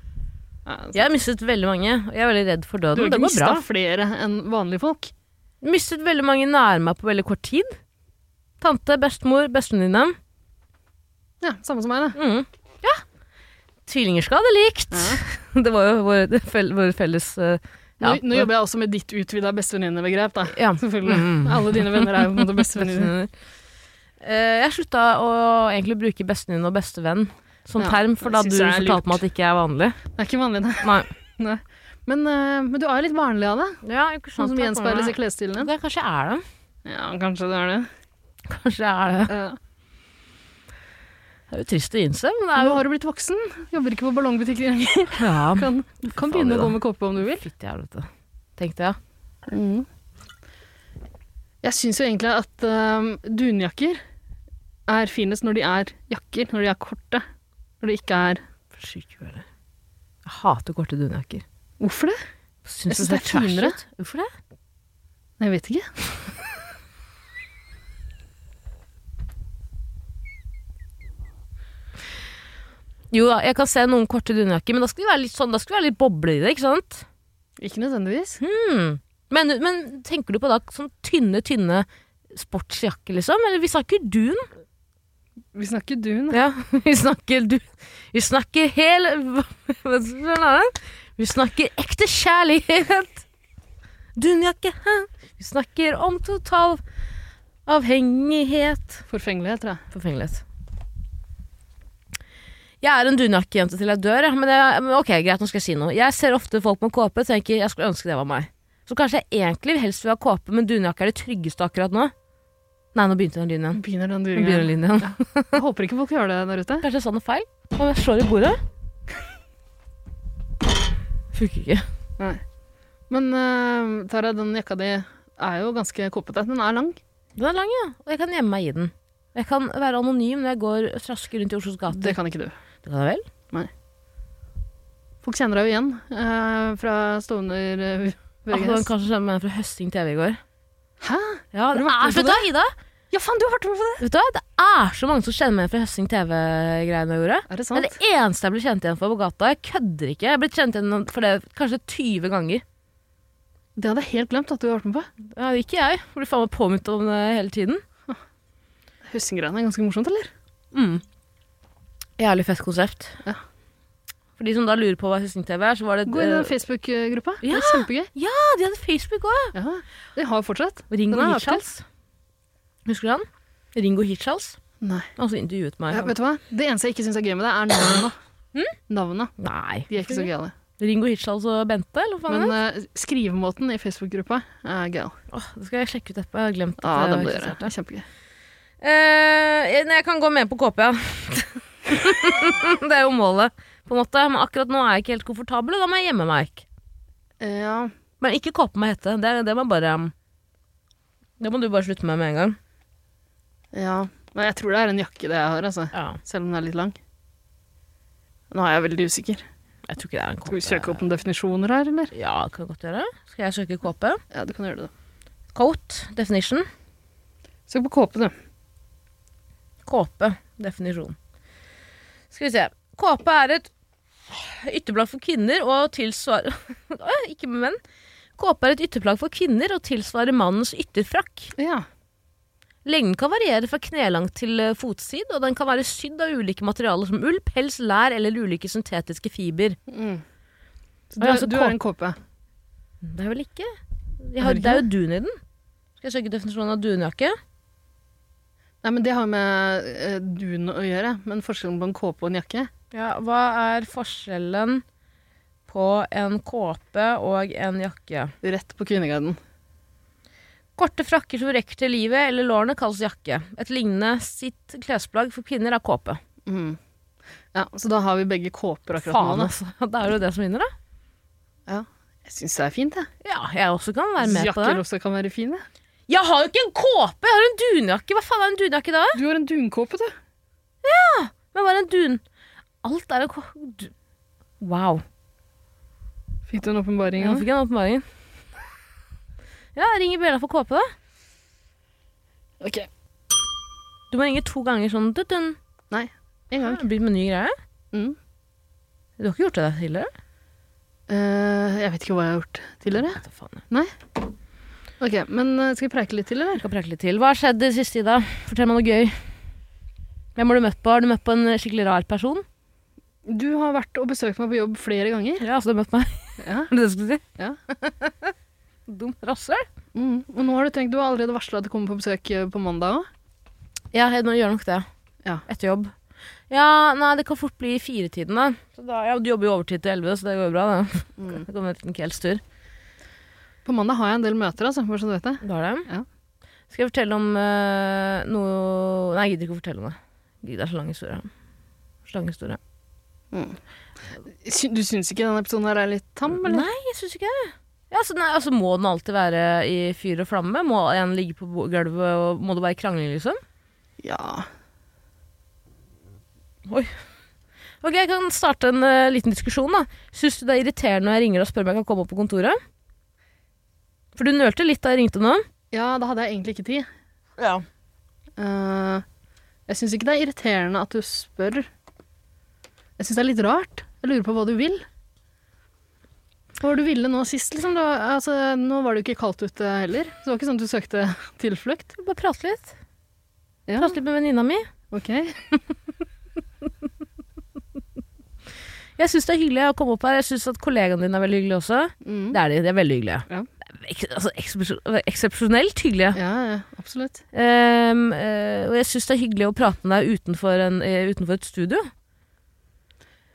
Speaker 1: Jeg har mistet veldig mange, og jeg er veldig redd for døden.
Speaker 2: altså, Du har
Speaker 1: ikke mista
Speaker 2: flere enn vanlige folk?
Speaker 1: Mistet veldig mange nær meg på veldig kort tid. Tante, bestemor, bestevenninne.
Speaker 2: Ja, samme som meg, det.
Speaker 1: Mm. Ja. Tvillinger skal ha det likt. Ja. Det var jo vår, fel, vår felles uh,
Speaker 2: ja. nå, nå, jobber jeg også med ditt utvida bestevenninnebegrep, da.
Speaker 1: Ja.
Speaker 2: Selvfølgelig. Mm. Alle dine venner er jo både bestevenninner.
Speaker 1: uh, jeg slutta å egentlig bruke bestevenninne og bestevenn som term, for da du fortalte meg at det ikke er vanlig.
Speaker 2: Det er ikke vanlig, det.
Speaker 1: Nei.
Speaker 2: Nei. Men, uh, men, du er litt barnlig av det.
Speaker 1: Ja, ikke sant,
Speaker 2: sånn som gjenspeiles i klesstilen din.
Speaker 1: Det kanskje er det.
Speaker 2: Ja, kanskje det er det.
Speaker 1: Kanskje er det. Ja. Det er jo trist å innse, men
Speaker 2: Nå har du blitt voksen. Jobber ikke på ballongbutikker lenger.
Speaker 1: Ja.
Speaker 2: Kan, kan begynne å gå med kåpe om du vil.
Speaker 1: Fytti helvete. Tenkte jeg. Ja.
Speaker 2: Mm. Jeg syns jo egentlig at um, dunjakker er finest når de er jakker. Når de er korte. Når de ikke er
Speaker 1: Syke, eller? Jeg hater korte dunjakker.
Speaker 2: Hvorfor det?
Speaker 1: Syns jeg syns det er finere. Hvorfor det?
Speaker 2: Jeg vet ikke.
Speaker 1: Jo da, jeg kan se noen korte dunjakker, men da skal det være litt sånn, da skal det være litt boble i det, ikke sant?
Speaker 2: Ikke nødvendigvis.
Speaker 1: Hmm. Men, men tenker du på da sånn tynne, tynne sportsjakker, liksom? Eller vi snakker dun?
Speaker 2: Vi snakker dun.
Speaker 1: Ja, vi snakker du... Vi snakker hel... Hva er det? Vi snakker ekte kjærlighet. Dunjakke. hæ? Vi snakker om total avhengighet.
Speaker 2: Forfengelighet, tror jeg.
Speaker 1: Forfengelighet. Jeg er en dunjakkejente til jeg dør, ja, men, jeg, men ok, greit, nå skal jeg si noe. Jeg ser ofte folk med kåpe og tenker jeg skulle ønske det var meg. Så kanskje jeg egentlig helst vil ha kåpe, men dunjakke er det tryggeste akkurat nå. Nei, nå begynte den lyden igjen.
Speaker 2: Nå Begynner den
Speaker 1: Nå begynner
Speaker 2: duringen.
Speaker 1: lyden igjen.
Speaker 2: Jeg håper ikke folk gjør det der ute.
Speaker 1: Kanskje jeg sa noe feil? Om jeg slår i bordet? Funker ikke.
Speaker 2: Nei. Men eh, Tara, den jakka di er jo ganske kåpete. Den er lang.
Speaker 1: Den er lang, ja. Og jeg kan gjemme meg i den. Og Jeg kan være anonym når jeg går og trasker rundt i Oslos
Speaker 2: Det
Speaker 1: gater.
Speaker 2: kan ikke du.
Speaker 1: Det kan jeg vel?
Speaker 2: Folk kjenner deg jo igjen eh, fra Stovner eh,
Speaker 1: Ah, det var
Speaker 2: VGS.
Speaker 1: kanskje sammen med en fra Høsting TV i går.
Speaker 2: Hæ?
Speaker 1: Ja,
Speaker 2: du
Speaker 1: det
Speaker 2: vært
Speaker 1: er,
Speaker 2: med på
Speaker 1: vet du hva, Ida?
Speaker 2: Ja, faen, du har vært med på det!
Speaker 1: Vet du hva? Det er så mange som kjenner meg igjen fra Høsting TV-greiene jeg gjorde.
Speaker 2: Er
Speaker 1: Det
Speaker 2: det
Speaker 1: er
Speaker 2: sant?
Speaker 1: det eneste jeg blir kjent igjen for på gata. Jeg kødder ikke. Jeg blir kjent igjen for det kanskje 20 ganger.
Speaker 2: Det hadde jeg helt glemt at du har vært med på.
Speaker 1: Ja, ikke jeg. Jeg blir faen meg påminnet om det hele tiden.
Speaker 2: Høstinggreiene er ganske morsomt, eller?
Speaker 1: Mm. Jævlig fett konsept.
Speaker 2: Ja.
Speaker 1: For de som da lurer på hva Høsting TV er, så var det
Speaker 2: Gå i
Speaker 1: eh,
Speaker 2: den Facebook-gruppa.
Speaker 1: ja.
Speaker 2: Det er kjempegøy.
Speaker 1: Ja, de hadde Facebook òg!
Speaker 2: Ja, det har fortsatt.
Speaker 1: Ringo
Speaker 2: Den er
Speaker 1: Hirtshals. Husker du han? Ringo Hirtshals.
Speaker 2: Nei.
Speaker 1: Han som intervjuet meg.
Speaker 2: Ja, Hm? vet du hva? Det eneste jeg ikke syns er gøy med det, er navnene. Navnene.
Speaker 1: Nei.
Speaker 2: De er ikke så gøyale.
Speaker 1: Ringo Hirtshals og Bente, eller hva faen
Speaker 2: Men
Speaker 1: er det?
Speaker 2: eh, skrivemåten i Facebook-gruppa er gøyal.
Speaker 1: Åh, det skal jeg sjekke ut etterpå. Jeg har glemt
Speaker 2: Ja,
Speaker 1: at jeg
Speaker 2: det må du gjøre.
Speaker 1: eksisterte.
Speaker 2: Det er Kjempegøy.
Speaker 1: Eh, jeg- nei, jeg kan gå med på KP, ja. det er jo målet, på en måte. Men akkurat nå er jeg ikke helt komfortabel, og da må jeg gjemme meg.
Speaker 2: Eh, Ja,
Speaker 1: Men ikke KP med hette. Det, det må jeg bare um, Det må du bare slutte med med en gang.
Speaker 2: ja. Men jeg tror det er en jakke det jeg har, altså.
Speaker 1: Ja,
Speaker 2: Selv om den er litt lang. Nå er jeg veldig usikker.
Speaker 1: jeg tror ikke det er en KP.
Speaker 2: Skal vi søke opp noen definisjoner her, eller?
Speaker 1: Ja, kan jeg godt gjøre. Skal jeg søke KP?
Speaker 2: Ja, du kan gjøre det. da.
Speaker 1: Coat definition.
Speaker 2: Søk på kåpe, du.
Speaker 1: Kåpe. Definisjon. Skal vi se. Kåpe er et ytterplagg for kvinner og tilsvarer Å, Ikke med menn. Kåpe er et ytterplagg for kvinner og tilsvarer mannens ytterfrakk.
Speaker 2: Ja.
Speaker 1: Lengden kan variere fra knelangt til eh, fotsid, og den kan være sydd av ulike materialer som ull, pels, lær eller ulike syntetiske fiber.
Speaker 2: Mm. Så
Speaker 1: Oi,
Speaker 2: du,
Speaker 1: altså,
Speaker 2: du
Speaker 1: kåpe-
Speaker 2: er en kåpe.
Speaker 1: Det er vel ikke Jeg
Speaker 2: Er
Speaker 1: har,
Speaker 2: det
Speaker 1: Det er jo dun i den. Skal jeg søke definisjonen av dunjakke?
Speaker 2: Nei, men Det har med eh, dun å gjøre, men forskjellen på en kåpe og en jakke
Speaker 1: Ja, hva er forskjellen på en kåpe og en jakke?
Speaker 2: Rett på Kvinneguiden.
Speaker 1: Korte frakker som rekker til livet eller lårene kalles jakke. Et lignende sitt klesplagg for kvinner er kåpe.
Speaker 2: Mm. Ja, Så da har vi begge kåper akkurat
Speaker 1: Faen,
Speaker 2: nå.
Speaker 1: altså. Det er jo det som vinner, da.
Speaker 2: Da. Jeg syns det er fint, jeg.
Speaker 1: Ja, jeg også kan være med på
Speaker 2: Jakker
Speaker 1: det.
Speaker 2: også kan være fine.
Speaker 1: Jeg har jo ikke en kåpe! Jeg har en dunjakke! Hva faen er en dunjakke da?
Speaker 2: Du har en dunkåpe, du.
Speaker 1: Men bare en dun... Alt er en kåpe... Du... Wow.
Speaker 2: Fikk du en åpenbaring?
Speaker 1: Nå
Speaker 2: nå?
Speaker 1: fikk jeg en åpenbaring. Ja, ring i bjella for kåpe, da.
Speaker 2: Ok,
Speaker 1: Du må ringe to ganger sånn dun-dun.
Speaker 2: en gang.
Speaker 1: Det blir med ny greie.
Speaker 2: Mm.
Speaker 1: Du har ikke gjort det der tidligere?
Speaker 2: Eh, jeg vet ikke hva jeg har gjort tidligere.
Speaker 1: Nei, hva faen.
Speaker 2: Ok, Men eh, skal vi preike litt til,
Speaker 1: Vi
Speaker 2: eller?
Speaker 1: skal prate litt til. Hva har skjedd det siste, Ida? Fortell meg noe gøy. Hvem har du møtt på? Har du møtt på en skikkelig rar person?
Speaker 2: Du har vært og besøkt meg på jobb flere ganger.
Speaker 1: Ja, altså du har møtt meg.
Speaker 2: Ja.
Speaker 1: Er det det du skulle si?
Speaker 2: Ja.
Speaker 1: Dum rasshøl.
Speaker 2: Mm. Og nå har du tenkt, du har allerede varsla at du kommer på besøk eh, på mandag òg.
Speaker 1: Ja, jeg gjør nok det.
Speaker 2: Ja.
Speaker 1: Etter jobb. Ja, nei, det kan fort bli i firetiden, da. Så da. Ja, du jobber jo overtid til elleve, så det går jo bra, det.
Speaker 2: Mm.
Speaker 1: Det kommer en liten kveldstur.
Speaker 2: På mandag har jeg en del møter, altså, bare så du vet det.
Speaker 1: Du har det?
Speaker 2: Ja.
Speaker 1: Skal jeg fortelle om eh, noe Nei, jeg gidder ikke å fortelle om det. Det er så lang historie. Så lang historie.
Speaker 2: Sy- Du syns ikke denne episoden her er litt tam, eller?
Speaker 1: Nei, jeg syns ikke det. Ja, altså, nei, altså, må den alltid være i fyr og flamme? Må en ligge på bo- gulvet, og må det være krangling, liksom?
Speaker 2: Ja.
Speaker 1: Ok, Jeg kan starte en eh, liten diskusjon. da Syns du det er irriterende når jeg ringer og spør om jeg kan komme opp på kontoret? For du nølte litt da jeg ringte nå.
Speaker 2: Ja, da hadde jeg egentlig ikke tid.
Speaker 1: Ja.
Speaker 2: Eh, jeg syns ikke det er irriterende at du spør. Jeg syns det er litt rart. Jeg lurer på hva du vil. Hva var det du ville nå sist, liksom? Da, altså, nå var det jo ikke kaldt ute heller. Så det var ikke sånn at du søkte tilflukt.
Speaker 1: Bare prate litt.
Speaker 2: Ja,
Speaker 1: Prate litt med venninna mi.
Speaker 2: ok.
Speaker 1: Jeg syns det er hyggelig å komme opp her. Jeg syns at kollegaene dine er veldig hyggelige også.
Speaker 2: Mm.
Speaker 1: Det er de. De er veldig hyggelige.
Speaker 2: Ja.
Speaker 1: Ek- Altså, eksepsjon- Eksepsjonelt hyggelige.
Speaker 2: Ja, ja, absolutt.
Speaker 1: Ehm, eh, og jeg syns det er hyggelig å prate med deg utenfor, en, eh, utenfor et studio.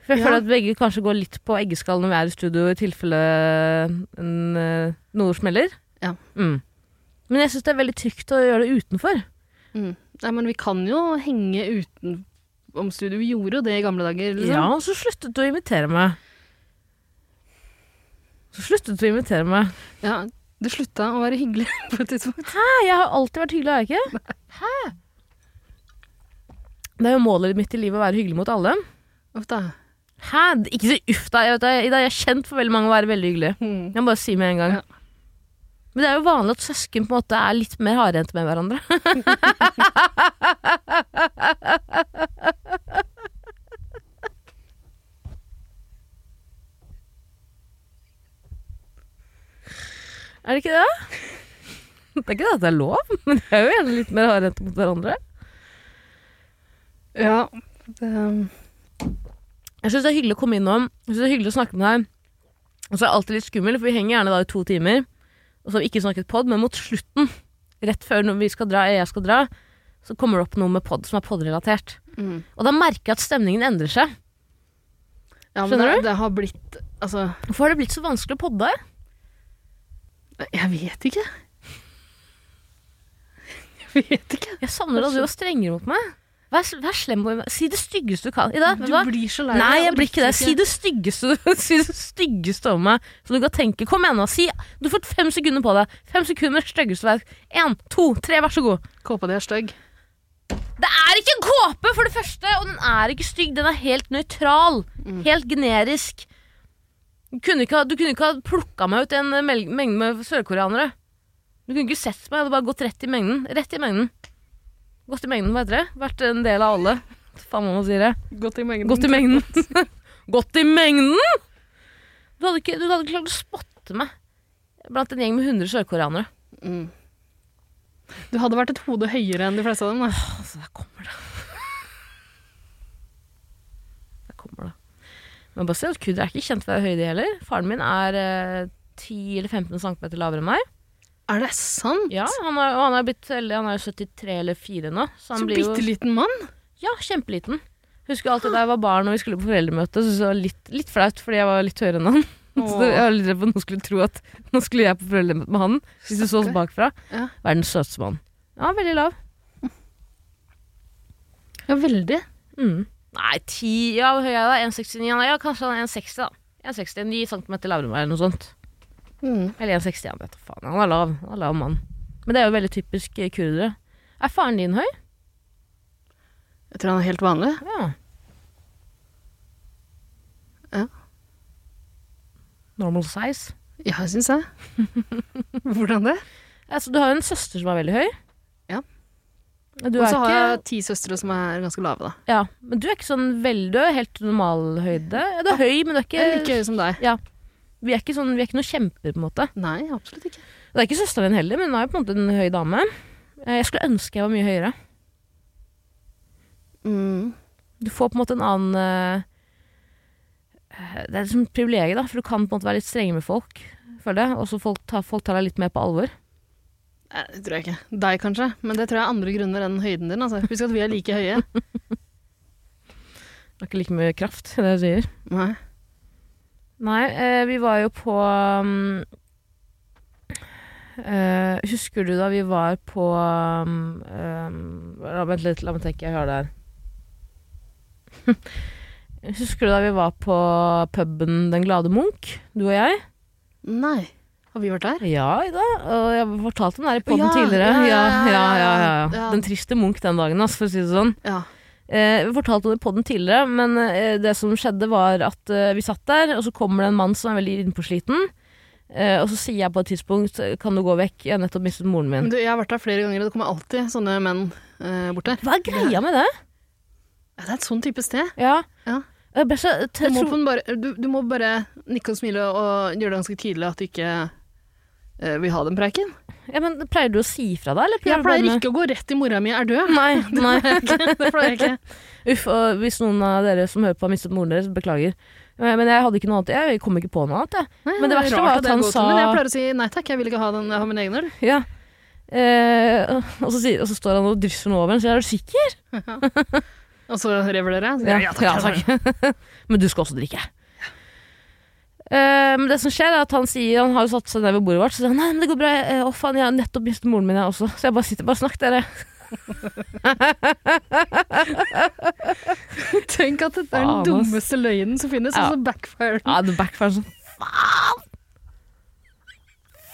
Speaker 1: For jeg
Speaker 2: Ja.
Speaker 1: føler at begge kanskje går litt på eggeskall når vi er i studio, i tilfelle en, eh, noe smeller.
Speaker 2: Ja.
Speaker 1: Mm. Men jeg syns det er veldig trygt å gjøre det utenfor.
Speaker 2: Mm. Nei, men vi kan jo henge utenom studio. Vi gjorde jo det i gamle dager, liksom.
Speaker 1: Ja, og så sluttet du å invitere meg. Så sluttet du å invitere meg.
Speaker 2: Ja, det slutta å være hyggelig på et tidspunkt.
Speaker 1: Nei, jeg har alltid vært hyggelig, har jeg ikke? Hæ? Det er jo målet mitt i livet å være hyggelig mot alle.
Speaker 2: Uff da.
Speaker 1: Hæ? Ikke si uff, da. Jeg, vet, det, Ida, jeg er kjent for veldig mange å være veldig hyggelig.
Speaker 2: Mm.
Speaker 1: Jeg må bare si med en gang.
Speaker 2: Ja.
Speaker 1: Men det er jo vanlig at søsken på en måte er litt mer hardhendte med hverandre. er det ikke det? Det er ikke det at det er lov, men det er jo gjerne litt mer hardhendte mot hverandre.
Speaker 2: Ja. Det, um,
Speaker 1: Jeg syns det er hyggelig å komme innom. Jeg synes det er hyggelig å snakke med deg. Og så er det alltid litt skummelt, for vi henger gjerne da i to timer. Og så har vi ikke snakket pod, men mot slutten, rett før når vi skal dra, jeg skal dra, så kommer det opp noe med pod som er podrelatert.
Speaker 2: mm.
Speaker 1: Og da merker jeg at stemningen endrer seg.
Speaker 2: Ja, men
Speaker 1: Skjønner
Speaker 2: det,
Speaker 1: du?
Speaker 2: det har blitt Altså,
Speaker 1: Hvorfor har det blitt så vanskelig å podde?
Speaker 2: jeg vet ikke. Jeg vet ikke.
Speaker 1: Jeg savner at du var strengere mot meg. Vær, s- vær slem mot meg. Si det styggeste du kan. Ida,
Speaker 2: Du
Speaker 1: vet du hva?
Speaker 2: blir så lei deg.
Speaker 1: Nei, jeg
Speaker 2: og
Speaker 1: blir ikke det.
Speaker 2: orker
Speaker 1: Si det styggeste, si det styggeste om meg, så du kan tenke. Kom igjen, nå. Si. Du har fått fem sekunder på deg. Fem sekunder med styggeste verk. Én, to, tre, vær så god.
Speaker 2: Kåpa di er stygg.
Speaker 1: Det er ikke en kåpe, for det første! Og den er ikke stygg. Den er helt nøytral. Helt generisk. Du kunne ikke ha, du kunne ikke ha plukka meg ut i en eh, mel- mengde med sørkoreanere. Du kunne ikke sett meg. Jeg hadde bare gått rett i mengden. Rett i mengden. Gått i mengden, hva heter det? Vært en del av alle. Faen hva man sier det.
Speaker 2: Godt i mengden.
Speaker 1: Gått i mengden. Gått i mengden! Du hadde ikke, du hadde ikke klart å spotte meg blant en gjeng med 100 sørkoreanere.
Speaker 2: Mm. Du hadde vært et hode høyere enn de fleste av dem. Da.
Speaker 1: Altså, der kommer det. Der kommer det. Men bare se at kudder er ikke kjent for å være høyde heller. Faren min er eh, 10 eller 15 cm lavere enn meg.
Speaker 2: Er det sant?
Speaker 1: Ah. Ja, han er, og han er blitt veldig Han er jo 73 eller 4 nå. Så han
Speaker 2: Så
Speaker 1: blir jo
Speaker 2: bitte liten mann.
Speaker 1: Ja, kjempeliten. Husker alltid da jeg var barn og vi skulle på foreldremøte, så syntes jeg det var litt, litt flaut fordi jeg var litt høyere enn han. Så
Speaker 2: Åh.
Speaker 1: jeg var litt redd for at noen skulle tro at nå skulle jeg på foreldremøte med han, hvis du så oss
Speaker 2: Stakkar.
Speaker 1: bakfra.
Speaker 2: Ja.
Speaker 1: Verdens søteste mann. Ja, veldig lav.
Speaker 2: Ja, veldig.
Speaker 1: Mm. Nei, 10 Ja, hvor høy er jeg da? 1,69? Ja, ja, kanskje han er 1,60, da. 1,60, 9 cm lavere enn meg, eller noe sånt.
Speaker 2: Mm.
Speaker 1: Eller 1,60, han vet da faen. Han er lav. Han er lav mann. Men det er jo veldig typisk eh, kurdere. Er faren din høy?
Speaker 2: Jeg tror han er helt vanlig.
Speaker 1: Ja.
Speaker 2: Ja.
Speaker 1: Normal size.
Speaker 2: Ja, syns jeg. Hvordan det?
Speaker 1: Altså, du har jo en søster som er veldig høy.
Speaker 2: Ja.
Speaker 1: Du
Speaker 2: Og
Speaker 1: er
Speaker 2: så har
Speaker 1: ikke,
Speaker 2: jeg ti søstre som er ganske lave, da.
Speaker 1: ja, men du er ikke sånn veldig Du er helt normal høyde. Ja, du er høy, men du er
Speaker 2: Jeg
Speaker 1: ikke,
Speaker 2: er like høy som deg.
Speaker 1: vi, er ikke sånn, vi er ikke noen kjemper, på en måte.
Speaker 2: Nei, absolutt ikke.
Speaker 1: Og Det er ikke søsteren din heller, men hun er jo på en måte en høy dame. Eh, Jeg skulle ønske jeg var mye høyere.
Speaker 2: Mm.
Speaker 1: Du får på en måte en annen eh, Det er liksom et privilegium, da, for du kan på en måte være litt strenge med folk. Føler jeg. Og så folk, tar- folk tar deg litt mer på alvor.
Speaker 2: Nei, det tror jeg ikke. Deg kanskje, men det tror jeg er andre grunner enn høyden din. Altså. Husk at vi er like høye.
Speaker 1: Det er ikke like mye kraft, det jeg sier.
Speaker 2: Nei.
Speaker 1: Nei, eh, vi var jo på um, eh, Husker du da vi var på um, um, la- Vent litt, la meg tenke, jeg hører det her. husker du da vi var på puben Den glade Munch, du og jeg?
Speaker 2: Nei. Har vi vært der?
Speaker 1: Ja, Ida. Og jeg fortalte om det her i
Speaker 2: Å,
Speaker 1: poden
Speaker 2: ja,
Speaker 1: tidligere.
Speaker 2: ja,
Speaker 1: Ja
Speaker 2: ja,
Speaker 1: ja ja, ja,
Speaker 2: ja.
Speaker 1: Den triste Munch den dagen, ass, altså, for å si det sånn.
Speaker 2: Ja.
Speaker 1: Eh, vi fortalte om det på den tidligere, men eh, det som skjedde var at eh, vi satt der, og så kommer det en mann som er veldig innpåsliten. Eh, og så sier jeg på et tidspunkt 'kan du gå vekk', jeg har nettopp mistet moren min.
Speaker 2: Men du, jeg har vært der flere ganger, og det kommer alltid sånne menn eh, bort der.
Speaker 1: Hva er greia med det?
Speaker 2: Ja, det er et sånn type sted.
Speaker 1: Ja.
Speaker 2: Ja.
Speaker 1: Jeg ble Eh, så,
Speaker 2: Jeg
Speaker 1: jeg
Speaker 2: tror
Speaker 1: tror,
Speaker 2: man bare, du, du må bare nikke og smile og gjøre det ganske tydelig at du ikke eh, vil ha den preiken.
Speaker 1: ja, men, pleier du å si fra deg, eller?
Speaker 2: Jeg pleier ikke å gå rett til mora mi er død.
Speaker 1: Nei, nei.
Speaker 2: Det pleier jeg ikke.
Speaker 1: Uff, og hvis noen av dere som hører på har mistet moren deres, beklager. Eh, Men jeg hadde ikke noe annet. Jeg kom ikke på noe annet, jeg.
Speaker 2: Nei,
Speaker 1: Men det
Speaker 2: er
Speaker 1: verste
Speaker 2: rart
Speaker 1: var at
Speaker 2: det er
Speaker 1: han
Speaker 2: gåten
Speaker 1: sa-
Speaker 2: min. Jeg pleier å si nei takk, jeg vil ikke ha den, jeg har min egen øl.
Speaker 1: Ja. Eh, og, så sier, og så står han og drysser den over, så jeg er du sikker?
Speaker 2: Og så rever dere. Så,
Speaker 1: Men du skal også drikke. Eh, men det som skjer er at han sier Han har jo satt seg ned ved bordet vårt, så sier han nei, men det går bra. jeg- eh, Å, faen, jeg har nettopp mistet moren min, jeg også. Så jeg bare sitter bare snakk, dere.
Speaker 2: Tenk at det er den
Speaker 1: Faen, ass.
Speaker 2: dummeste løgnen som finnes,
Speaker 1: Ja.
Speaker 2: og så backfire den.
Speaker 1: Ja, det backfire sånn. Faen!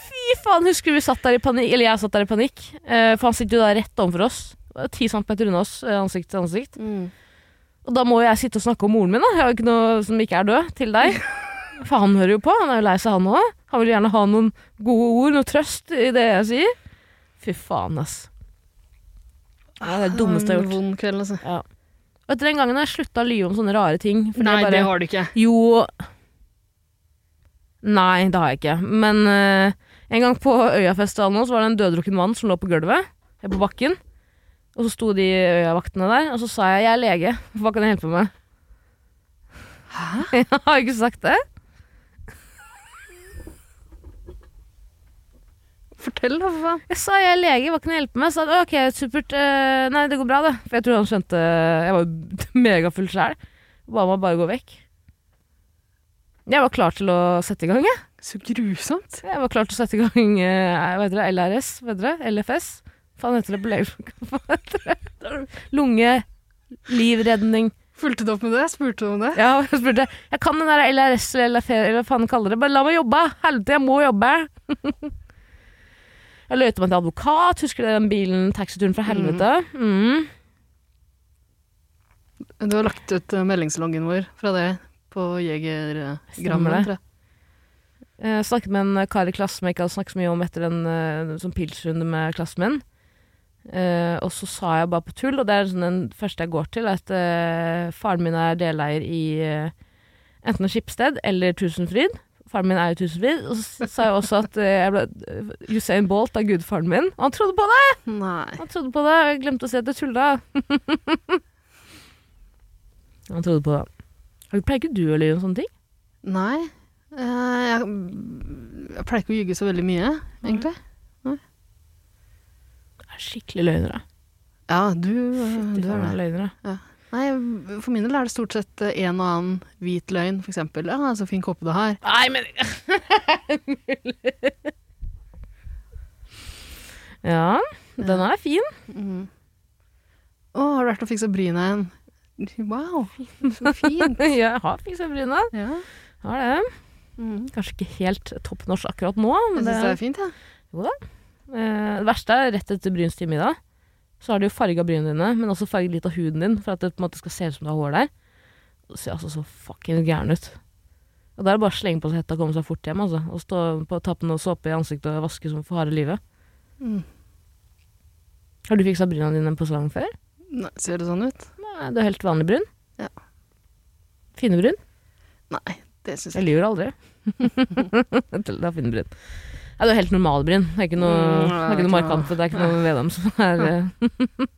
Speaker 1: Fy faen, husker du vi satt der i panikk? Eller jeg satt der i panikk. eh, for han sitter jo da rett overfor oss. Ti centimeter unna oss, eh, ansikt til ansikt. Og da må jo jeg sitte og snakke om moren min, da. Jeg har jo ikke noe som ikke er død, til deg. For han hører jo på. Han er jo lei seg, han òg. Han vil gjerne ha noen gode ord, noe trøst i det jeg sier. Fy faen, ass. Ja, det er det dummeste jeg har
Speaker 2: En
Speaker 1: gjort.
Speaker 2: Vond kveld, altså.
Speaker 1: Og etter den gangen har jeg slutta å lyve om sånne rare ting. fordi
Speaker 2: Nei,
Speaker 1: jeg bare,
Speaker 2: det har du ikke.
Speaker 1: jo Nei, det har jeg ikke. Men eh, en gang på Øyafestivalen nå, så var det en døddrukken mann som lå på gulvet. Eller på bakken. Og så sto de Øyavaktene der, og så sa jeg 'jeg er lege, hva kan jeg hjelpe med'? Hæ? Jeg har ikke sagt det.
Speaker 2: Fortell, da, for faen.
Speaker 1: Jeg sa 'jeg er lege, hva kan jeg hjelpe med'? Så sa han 'ok, supert, eh, nei, det går bra, det'. For jeg tror han skjønte Jeg var jo megafull sjæl. Ba meg bare gå vekk. Jeg var klar til å sette i gang, jeg.
Speaker 2: Så grusomt.
Speaker 1: Jeg var klar til å sette i gang eh, hva heter det, LRS, hva heter det? LFS. Faen heter det på legeflokka? Hva heter det? Lunge, livredning.
Speaker 2: Fulgte du opp med det? Spurte du om det?
Speaker 1: Ja, jeg spurte jeg kan den der LRS eller LFS, eller hva faen de kaller det. Bare la meg jobbe! Helvete, jeg må jobbe! Jeg løyte meg til advokat, husker dere den bilen, taxituren fra helvete? Mm.
Speaker 2: Du har lagt ut eh, meldingsloggen vår fra det på
Speaker 1: Stemmer
Speaker 2: Jegergrammen,
Speaker 1: det.
Speaker 2: tror jeg.
Speaker 1: Jeg Eh, snakket med en kar i klassen min jeg ikke hadde snakket så mye om etter en eh, sånn pilsrunde med klassen min. Eh, og så sa jeg bare på tull, og det er sånn den første jeg går til, er at eh, faren min er deleier i eh, enten Skipsted eller Tusenfryd. Faren min er jo Tusenfryd. Og så sa jeg også at eh, jeg ble, eh, Usain Bolt er gudfaren min. Og han trodde på det!
Speaker 2: Nei.
Speaker 1: Han trodde på det, og jeg glemte å si at jeg tulla. han trodde på det. Pleier ikke du å lyve om sånne ting?
Speaker 2: Nei. Eh, jeg, jeg pleier ikke å ljuge så veldig mye, egentlig.
Speaker 1: Jeg er skikkelig løgner, da.
Speaker 2: Ja, du, eh,
Speaker 1: Fytti
Speaker 2: du er
Speaker 1: faen,
Speaker 2: det.
Speaker 1: jeg er løgner, da.
Speaker 2: Nei, for min del er det stort sett eh, en og annen hvit løgn, for eksempel. Ja, så fin kåpe du har.
Speaker 1: Nei, men Ja, den er fin. Mm-hmm.
Speaker 2: Mm. Å, har du vært og fiksa bryna igjen? Wow, så fint.
Speaker 1: Jeg har fiksa bryna.
Speaker 2: Ja.
Speaker 1: Har det.
Speaker 2: Mm.
Speaker 1: Kanskje ikke helt topp norsk akkurat nå.
Speaker 2: Jeg
Speaker 1: Men
Speaker 2: syns
Speaker 1: Mm-hmm. det,
Speaker 2: det er fint, jeg. Ja.
Speaker 1: eh, det verste er rett etter Bryns time i dag. Så har de jo farga brynene dine, men også farget litt av huden din for at det på en måte skal se ut som du har hår der. Det ser altså så fucking gæren ut. Og Da er det bare å slenge på seg hetta og komme seg fort hjem. Altså. Og stå på, ta på noe såpe i ansiktet og vaske som for harde livet.
Speaker 2: Mm.
Speaker 1: Har du fiksa bryna dine på salong før?
Speaker 2: Nei, ser det sånn ut?
Speaker 1: Nei, du er helt vanlig brun?
Speaker 2: Ja.
Speaker 1: Finebrun?
Speaker 2: Nei, det syns jeg
Speaker 1: Jeg lyver aldri. Til det er finebrun. Nei, du er helt normal brun. Det er ikke noe,
Speaker 2: Mm,
Speaker 1: det er ikke noe markant, for det er ikke noe ved dem som er eh.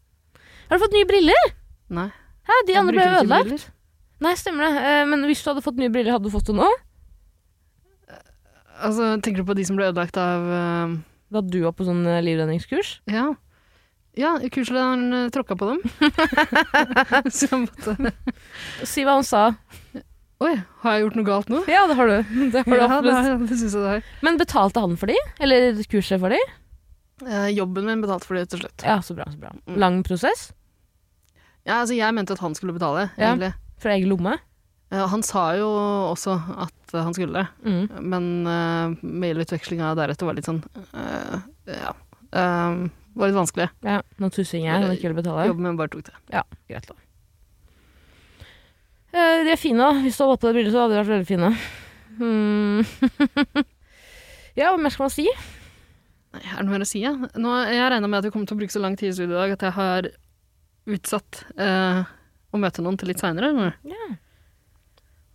Speaker 1: Har du fått nye briller?
Speaker 2: ikke. Nei.
Speaker 1: Hæ, de
Speaker 2: Jeg
Speaker 1: andre ble
Speaker 2: bruker ikke
Speaker 1: ødelagt.
Speaker 2: briller.
Speaker 1: Nei, stemmer det. Eh, Men hvis du hadde fått nye briller, hadde du fått det nå?
Speaker 2: Altså, tenker du på de som ble ødelagt av eh,
Speaker 1: Da du var på sånn eh, livredningskurs?
Speaker 2: Ja. Ja, kurslederen eh, tråkka på dem. så jeg måtte
Speaker 1: Si hva han sa.
Speaker 2: Oi, har jeg gjort noe galt nå?
Speaker 1: Ja, det har du. Det har du
Speaker 2: Ja, det,
Speaker 1: absolutt.
Speaker 2: har- det syns jeg det har.
Speaker 1: Men betalte han for de? Eller kurset for de?
Speaker 2: Eh, jobben min betalte for det til slutt.
Speaker 1: Ja, så bra. så bra.
Speaker 2: Mm.
Speaker 1: Lang prosess?
Speaker 2: Ja, altså, jeg mente at han skulle betale,
Speaker 1: Ja.
Speaker 2: egentlig.
Speaker 1: Fra egen lomme?
Speaker 2: Eh, han sa jo også at eh, han skulle det.
Speaker 1: Mm.
Speaker 2: Men uh, mailutvekslinga deretter var litt sånn eh, Ja. eh, var litt vanskelig.
Speaker 1: Ja, nå tussing jeg, han ikke vil betale.
Speaker 2: Jobben min bare tok det.
Speaker 1: Ja, greit da. Eh, de er fine, da. Hvis du hadde hatt på det bildet, så hadde de vært veldig fine. Hmm. ja, hva mer skal man si?
Speaker 2: Nei, Er det noe mer å si, ja? Nå, jeg regna med at vi kom til å bruke så lang tid i studio i dag at jeg har utsatt eh, å møte noen til litt seinere.
Speaker 1: Ja.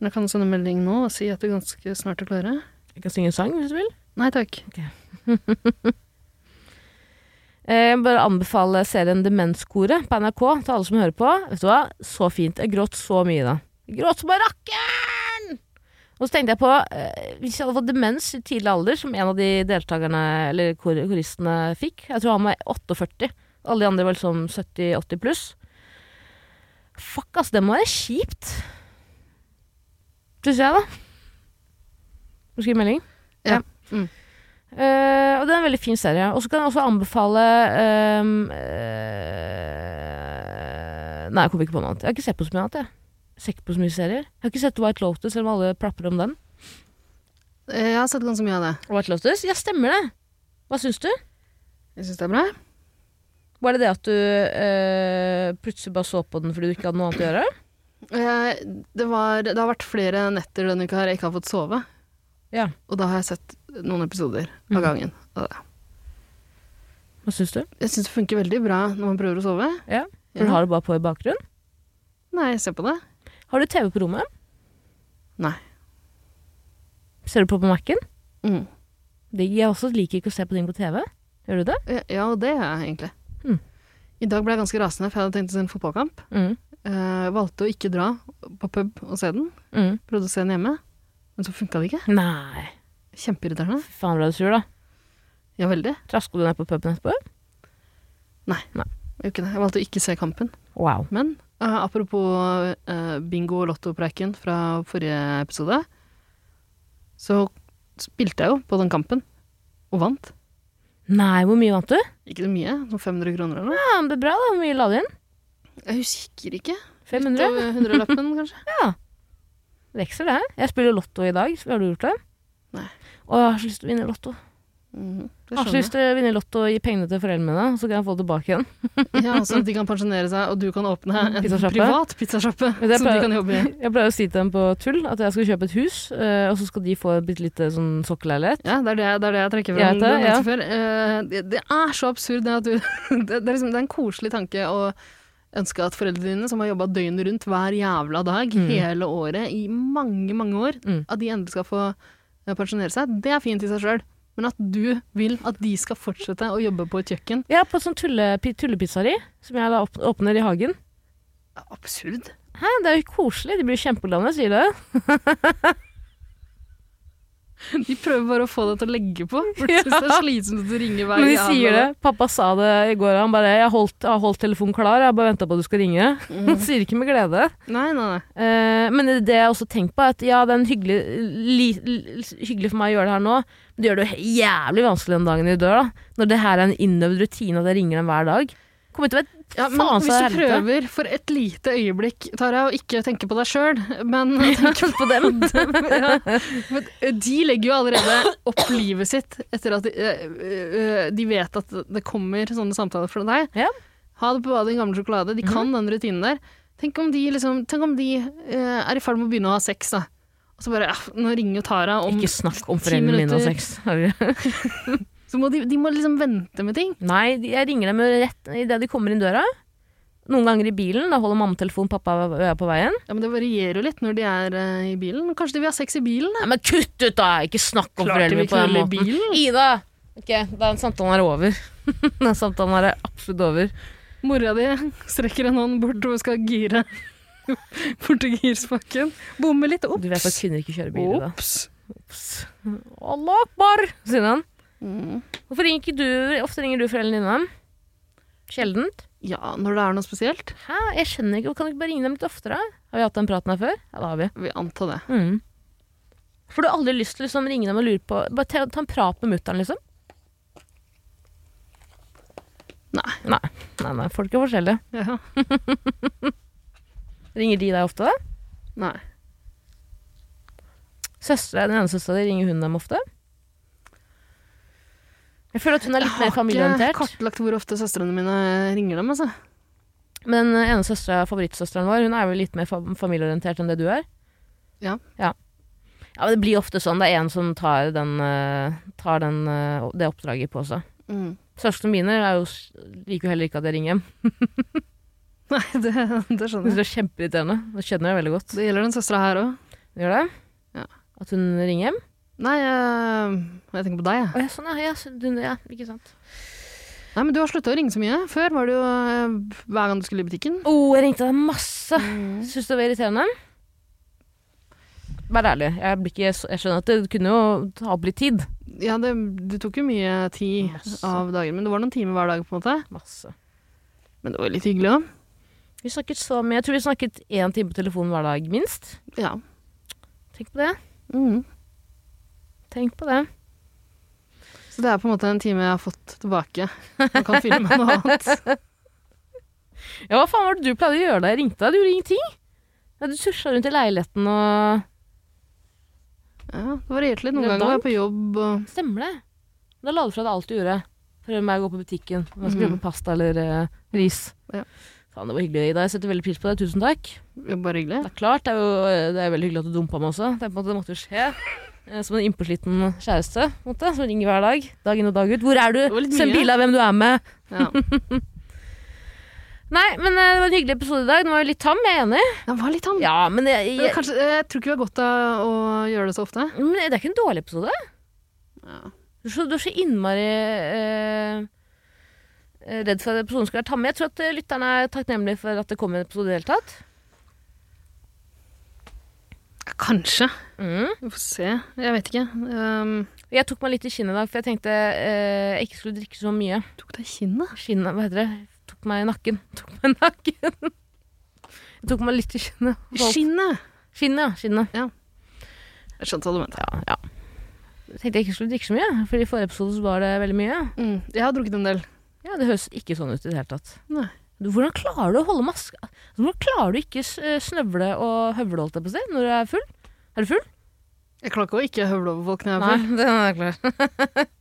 Speaker 2: Men jeg kan sende melding nå og si at du ganske snart er klare.
Speaker 1: Jeg kan synge en sang hvis du vil.
Speaker 2: Nei takk.
Speaker 1: Eh, Jeg bare anbefaler serien Demenskoret på NRK til alle som hører på. Vet du hva? Så fint. Jeg gråt så mye da. Jeg gråt som bare rakkeren! Og så tenkte jeg på, eh, hvis jeg hadde fått demens i tidlig alder, som en av de deltakerne, eller kor koristene fikk, jeg tror han var 48, alle de andre var liksom 70-80 pluss. Fuck ass, det må være kjipt. Synes jeg da. Skal du skrive melding?
Speaker 2: Ja. Mm.
Speaker 1: Eh, og det er en veldig fin serie. Og så kan jeg også anbefale ehm, eh, Nei, jeg kom ikke på noe annet. Jeg har ikke sett på så mye annet. Jeg. Jeg ser ikke på så mye serier. Jeg har ikke sett White Lotus, selv om alle plapper om den.
Speaker 2: Eh, Jeg har sett ganske mye av det.
Speaker 1: White Lotus? Ja, stemmer det! Hva syns du?
Speaker 2: Jeg syns det er bra.
Speaker 1: Var det det at du eh, plutselig bare så på den fordi du ikke hadde noe annet å gjøre?
Speaker 2: Eh, Det, var, det har vært flere netter denne uka her jeg ikke har fått sove.
Speaker 1: Ja.
Speaker 2: Og da har jeg sett noen episoder
Speaker 1: Mhm.
Speaker 2: av gangen. Og det-
Speaker 1: Hva syns du?
Speaker 2: Jeg syns det funker veldig bra når man prøver å sove.
Speaker 1: Ja.
Speaker 2: Ja.
Speaker 1: Du har det bare på i bakgrunnen?
Speaker 2: Nei, jeg ser på det.
Speaker 1: Har du TV på rommet?
Speaker 2: Nei.
Speaker 1: Ser du på på Mac-en?
Speaker 2: Mm.
Speaker 1: Det- Jeg også liker ikke å se på ting på TV. Gjør du det?
Speaker 2: Ja, Ja, og det gjør jeg egentlig.
Speaker 1: Mm.
Speaker 2: I dag ble jeg ganske rasende, for jeg hadde tenkt å se en fotballkamp.
Speaker 1: Mm.
Speaker 2: Eh, valgte å ikke dra på pub og se den.
Speaker 1: Mm.
Speaker 2: Prøvde å se den hjemme, men så funka det ikke.
Speaker 1: Nei.
Speaker 2: Kjempeirriterende.
Speaker 1: Fy faen ble du sur, da.
Speaker 2: Ja, veldig.
Speaker 1: Traska du ned på puben etterpå?
Speaker 2: Jeg, gjorde ikke det. jeg valgte å ikke se kampen.
Speaker 1: Wow.
Speaker 2: Men eh, apropos eh, bingo- og lottopreiken fra forrige episode, så spilte jeg jo på den kampen, og vant.
Speaker 1: Nei, hvor mye vant du?
Speaker 2: Ikke så mye, sånn 500 kroner eller noe.
Speaker 1: Ja, men det er bra, da. Hvor mye la du inn?
Speaker 2: Jeg husker ikke.
Speaker 1: 500?
Speaker 2: Utover 100-lappen, kanskje.
Speaker 1: Vekser det. Jeg spiller lotto i dag. Har du gjort det?
Speaker 2: Nei.
Speaker 1: Å, jeg har så lyst til å vinne lotto.
Speaker 2: Mhm, det
Speaker 1: Jeg har
Speaker 2: skjønner
Speaker 1: så
Speaker 2: jeg.
Speaker 1: lyst til å vinne lotto og gi pengene til foreldrene mine, så kan jeg få det tilbake igjen.
Speaker 2: Ja, sånn at de kan pensjonere seg, og du kan åpne en
Speaker 1: Pizzasjappe.
Speaker 2: privat pizzasjappe
Speaker 1: Men det
Speaker 2: som de
Speaker 1: pleier-
Speaker 2: kan jobbe i.
Speaker 1: Jeg pleier å si til dem på tull at jeg skal kjøpe et hus, eh, og så skal de få et bitte lite sånn sokkelleilighet.
Speaker 2: Ja, det er det, det er det jeg trekker
Speaker 1: Jeg
Speaker 2: fram.
Speaker 1: vet
Speaker 2: Det,
Speaker 1: det, ja.
Speaker 2: før. Eh, det, det er så absurd det at du det, det, er liksom, det er en koselig tanke å ønske at foreldrene dine, som har jobba døgnet rundt hver jævla dag
Speaker 1: Mm.
Speaker 2: hele året i mange, mange år,
Speaker 1: Mm.
Speaker 2: at de endelig skal få eh, pensjonere seg. Det er fint i seg sjøl, men at du vil at de skal fortsette å jobbe på et kjøkken,
Speaker 1: Jeg er på et sånt tulle, pi- tullepizzeri som jeg da åp- åpner i hagen.
Speaker 2: er absurd.
Speaker 1: Hæ, det er jo koselig. De blir kjempeglade når jeg sier det.
Speaker 2: De prøver bare å få deg til å legge på, for de syns det er slitsomt at du ringer hver
Speaker 1: Men de
Speaker 2: jævla
Speaker 1: sier det.
Speaker 2: dag.
Speaker 1: Pappa sa det i går. Han bare 'Jeg har holdt, jeg har holdt telefonen klar, jeg har bare venta på at du skal ringe'.
Speaker 2: Mm.
Speaker 1: Han sier ikke med glede.
Speaker 2: Nei, nei, nei.
Speaker 1: Eh, men det jeg også tenker på, er at ja, det er en hyggelig, li, li, hyggelig for meg å gjøre det her nå, men det gjør det jo jævlig vanskelig den dagen de dør, da. Når det her er en innøvd rutine at jeg ringer dem hver dag. Kommer til å være
Speaker 2: Ja, men
Speaker 1: faen så
Speaker 2: hvis du
Speaker 1: helvete.
Speaker 2: prøver for et lite øyeblikk, Tara, å ikke tenke på deg sjøl, men tenke på dem ja. men De legger jo allerede opp livet sitt etter at de, eh, eh, de vet at det kommer sånne samtaler fra deg.
Speaker 1: Ja. Mhm.
Speaker 2: Ha det på badet i gamle sjokolade. De kan den rutinen der. Tenk om de, liksom, tenk om de eh, er i ferd med å begynne å ha sex, da. Og så bare ja, Nå ringer jo Tara om
Speaker 1: Ikke snakk om
Speaker 2: ti
Speaker 1: foreldrene mine og
Speaker 2: minutter.
Speaker 1: sex. Herregud.
Speaker 2: Så må de, de må liksom vente med ting.
Speaker 1: Nei, de- jeg ringer dem jo rett idet de kommer inn døra. Noen ganger i bilen. Da holder mamma telefonen, pappa er på veien.
Speaker 2: Ja, Men det varierer jo litt når de er eh, i bilen. Kanskje de vil ha sex i bilen?
Speaker 1: Nei, men kutt ut, da! Ikke snakk om
Speaker 2: Klart
Speaker 1: foreldrene
Speaker 2: de vil
Speaker 1: mine på den
Speaker 2: knulle i
Speaker 1: måten.
Speaker 2: bilen.
Speaker 1: Ida! Ok, da er samtalen her over. den samtalen her er absolutt over.
Speaker 2: Mora di strekker en hånd bort og skal gire bort til girspaken. Bommer litt.
Speaker 1: Du vet at
Speaker 2: Ops!
Speaker 1: kvinner ikke kjører bil i dag.
Speaker 2: Ops!
Speaker 1: Ops. Allah akbar, sier han.
Speaker 2: Mm.
Speaker 1: Hvorfor ringer ikke du, ofte ringer du foreldrene dine? dem? Sjeldent.
Speaker 2: Ja, når det er noe spesielt.
Speaker 1: Hæ, jeg skjønner ikke, kan du ikke bare ringe dem litt oftere? Har vi hatt den praten her før? Ja, det har vi.
Speaker 2: Vi antar det.
Speaker 1: Mm. For du har aldri lyst til å liksom, ringe dem og lure på, bare ta, ta en prat med mutteren liksom?
Speaker 2: Nei.
Speaker 1: Nei, nei, nei, folk er forskjellige.
Speaker 2: Ja.
Speaker 1: Ringer de deg ofte da?
Speaker 2: Nei.
Speaker 1: Søstre, den ene søstera di, ringer hun dem ofte? Jeg føler at hun er litt mer
Speaker 2: Jeg har ikke
Speaker 1: familieorientert.
Speaker 2: kartlagt hvor ofte søstrene mine ringer dem, altså.
Speaker 1: Men den ene søstra, favorittsøsteren vår, hun er vel litt mer fa- familieorientert enn det du er.
Speaker 2: Ja.
Speaker 1: ja. Ja, men Det blir ofte sånn. Det er en som tar, den, eh, tar den, eh, det oppdraget på seg.
Speaker 2: Mm.
Speaker 1: Søstrene mine er jo, s- liker jo heller ikke at jeg ringer hjem.
Speaker 2: Nei, det, det
Speaker 1: Hun synes
Speaker 2: skjønner jeg.
Speaker 1: Det er kjempeirriterende. Det skjønner jeg veldig godt.
Speaker 2: Det gjelder den søstera her òg.
Speaker 1: Gjør det?
Speaker 2: Ja.
Speaker 1: At hun ringer hjem?
Speaker 2: Nei, eh, jeg tenker på deg, jeg.
Speaker 1: Å ja, sånn ja. ja, så- du- ja ikke sant.
Speaker 2: Nei, men du har slutta å ringe så mye. Før var det jo eh, hver gang du skulle i butikken.
Speaker 1: Å, oh, jeg ringte deg masse.
Speaker 2: Mm.
Speaker 1: Syns du det var irriterende? Vær ærlig. Jeg, blir ikke, så- jeg skjønner at det kunne jo ta opp litt tid.
Speaker 2: Ja, det, det tok jo mye tid
Speaker 1: Masse.
Speaker 2: av dagen, men det var noen timer hver dag, på en måte.
Speaker 1: Masse.
Speaker 2: Men det var litt hyggelig òg.
Speaker 1: Vi snakket så mye. Jeg tror vi snakket én time på telefonen hver dag, minst.
Speaker 2: Ja.
Speaker 1: Tenk på det.
Speaker 2: Mm.
Speaker 1: Tenk på det.
Speaker 2: Så det er på en måte en time jeg har fått tilbake. Man kan fylle med noe annet.
Speaker 1: Ja, hva faen var det du pleide å gjøre da jeg ringte deg? Du gjorde ingenting. Ja, du susja rundt i leiligheten og
Speaker 2: Ja, det varierte litt. Noen
Speaker 1: Det er
Speaker 2: ganger var jeg på jobb og
Speaker 1: Stemmer det. Da la du fra deg alt du gjorde. For meg å gå på butikken om jeg skulle
Speaker 2: Mhm.
Speaker 1: kjøpe pasta eller eh, ris.
Speaker 2: Ja.
Speaker 1: Faen, det var hyggelig, Ida. Jeg setter veldig pris på det. Tusen takk.
Speaker 2: jobb var hyggelig.
Speaker 1: Det er klart, det er jo eh, det er veldig hyggelig at du dumpa meg også. Det, er på en måte, det måtte jo skje. Eh, Som en innpåsliten kjæreste på en måte, som ringer hver dag. Dag inn og dag ut. Hvor er du?
Speaker 2: var litt
Speaker 1: Send
Speaker 2: mye.
Speaker 1: bilde av hvem du er med.
Speaker 2: Ja.
Speaker 1: Nei, men eh, det var en hyggelig episode i dag. Den var jo litt tam, jeg er enig.
Speaker 2: Den var litt tam.
Speaker 1: Ja, men, jeg,
Speaker 2: Men
Speaker 1: jeg,
Speaker 2: Kanskje, eh, jeg tror ikke vi har godt av å gjøre det så ofte.
Speaker 1: men det er ikke en dårlig episode.
Speaker 2: Ja.
Speaker 1: Du er så, du er så innmari eh, redd for at episoden skal være tamme. Jeg tror at eh, lytterne er takknemlige for at det kom en episode i det hele tatt.
Speaker 2: Kanskje.
Speaker 1: Mm.
Speaker 2: Vi får se. Jeg vet ikke. Um,
Speaker 1: Og Jeg tok meg litt i kinnet i dag, for jeg tenkte eh, jeg ikke skulle drikke så mye.
Speaker 2: tok deg i kinnet?
Speaker 1: Skinnet, hva heter det? Tok meg i nakken. Tok meg i nakken. Jeg tok meg litt i kinnet.
Speaker 2: I skinnet!
Speaker 1: Skinnet, ja. Skinnet.
Speaker 2: Jeg skjønte hva du mente.
Speaker 1: Ja, ja. Jeg tenkte jeg ikke skulle drikke så mye, for i forrige episode så var det veldig mye.
Speaker 2: Mm. Jeg har drukket en del.
Speaker 1: Ja, Det høres ikke sånn ut i det hele tatt.
Speaker 2: Nei.
Speaker 1: Du, hvordan klarer du å holde maska altså, Hvordan klarer du ikke s- eh, snøvle og høvle holdt jeg på å si, når du er full? Er du full?
Speaker 2: Jeg klarer ikke å ikke høvle over folk når jeg er full.
Speaker 1: det er klart.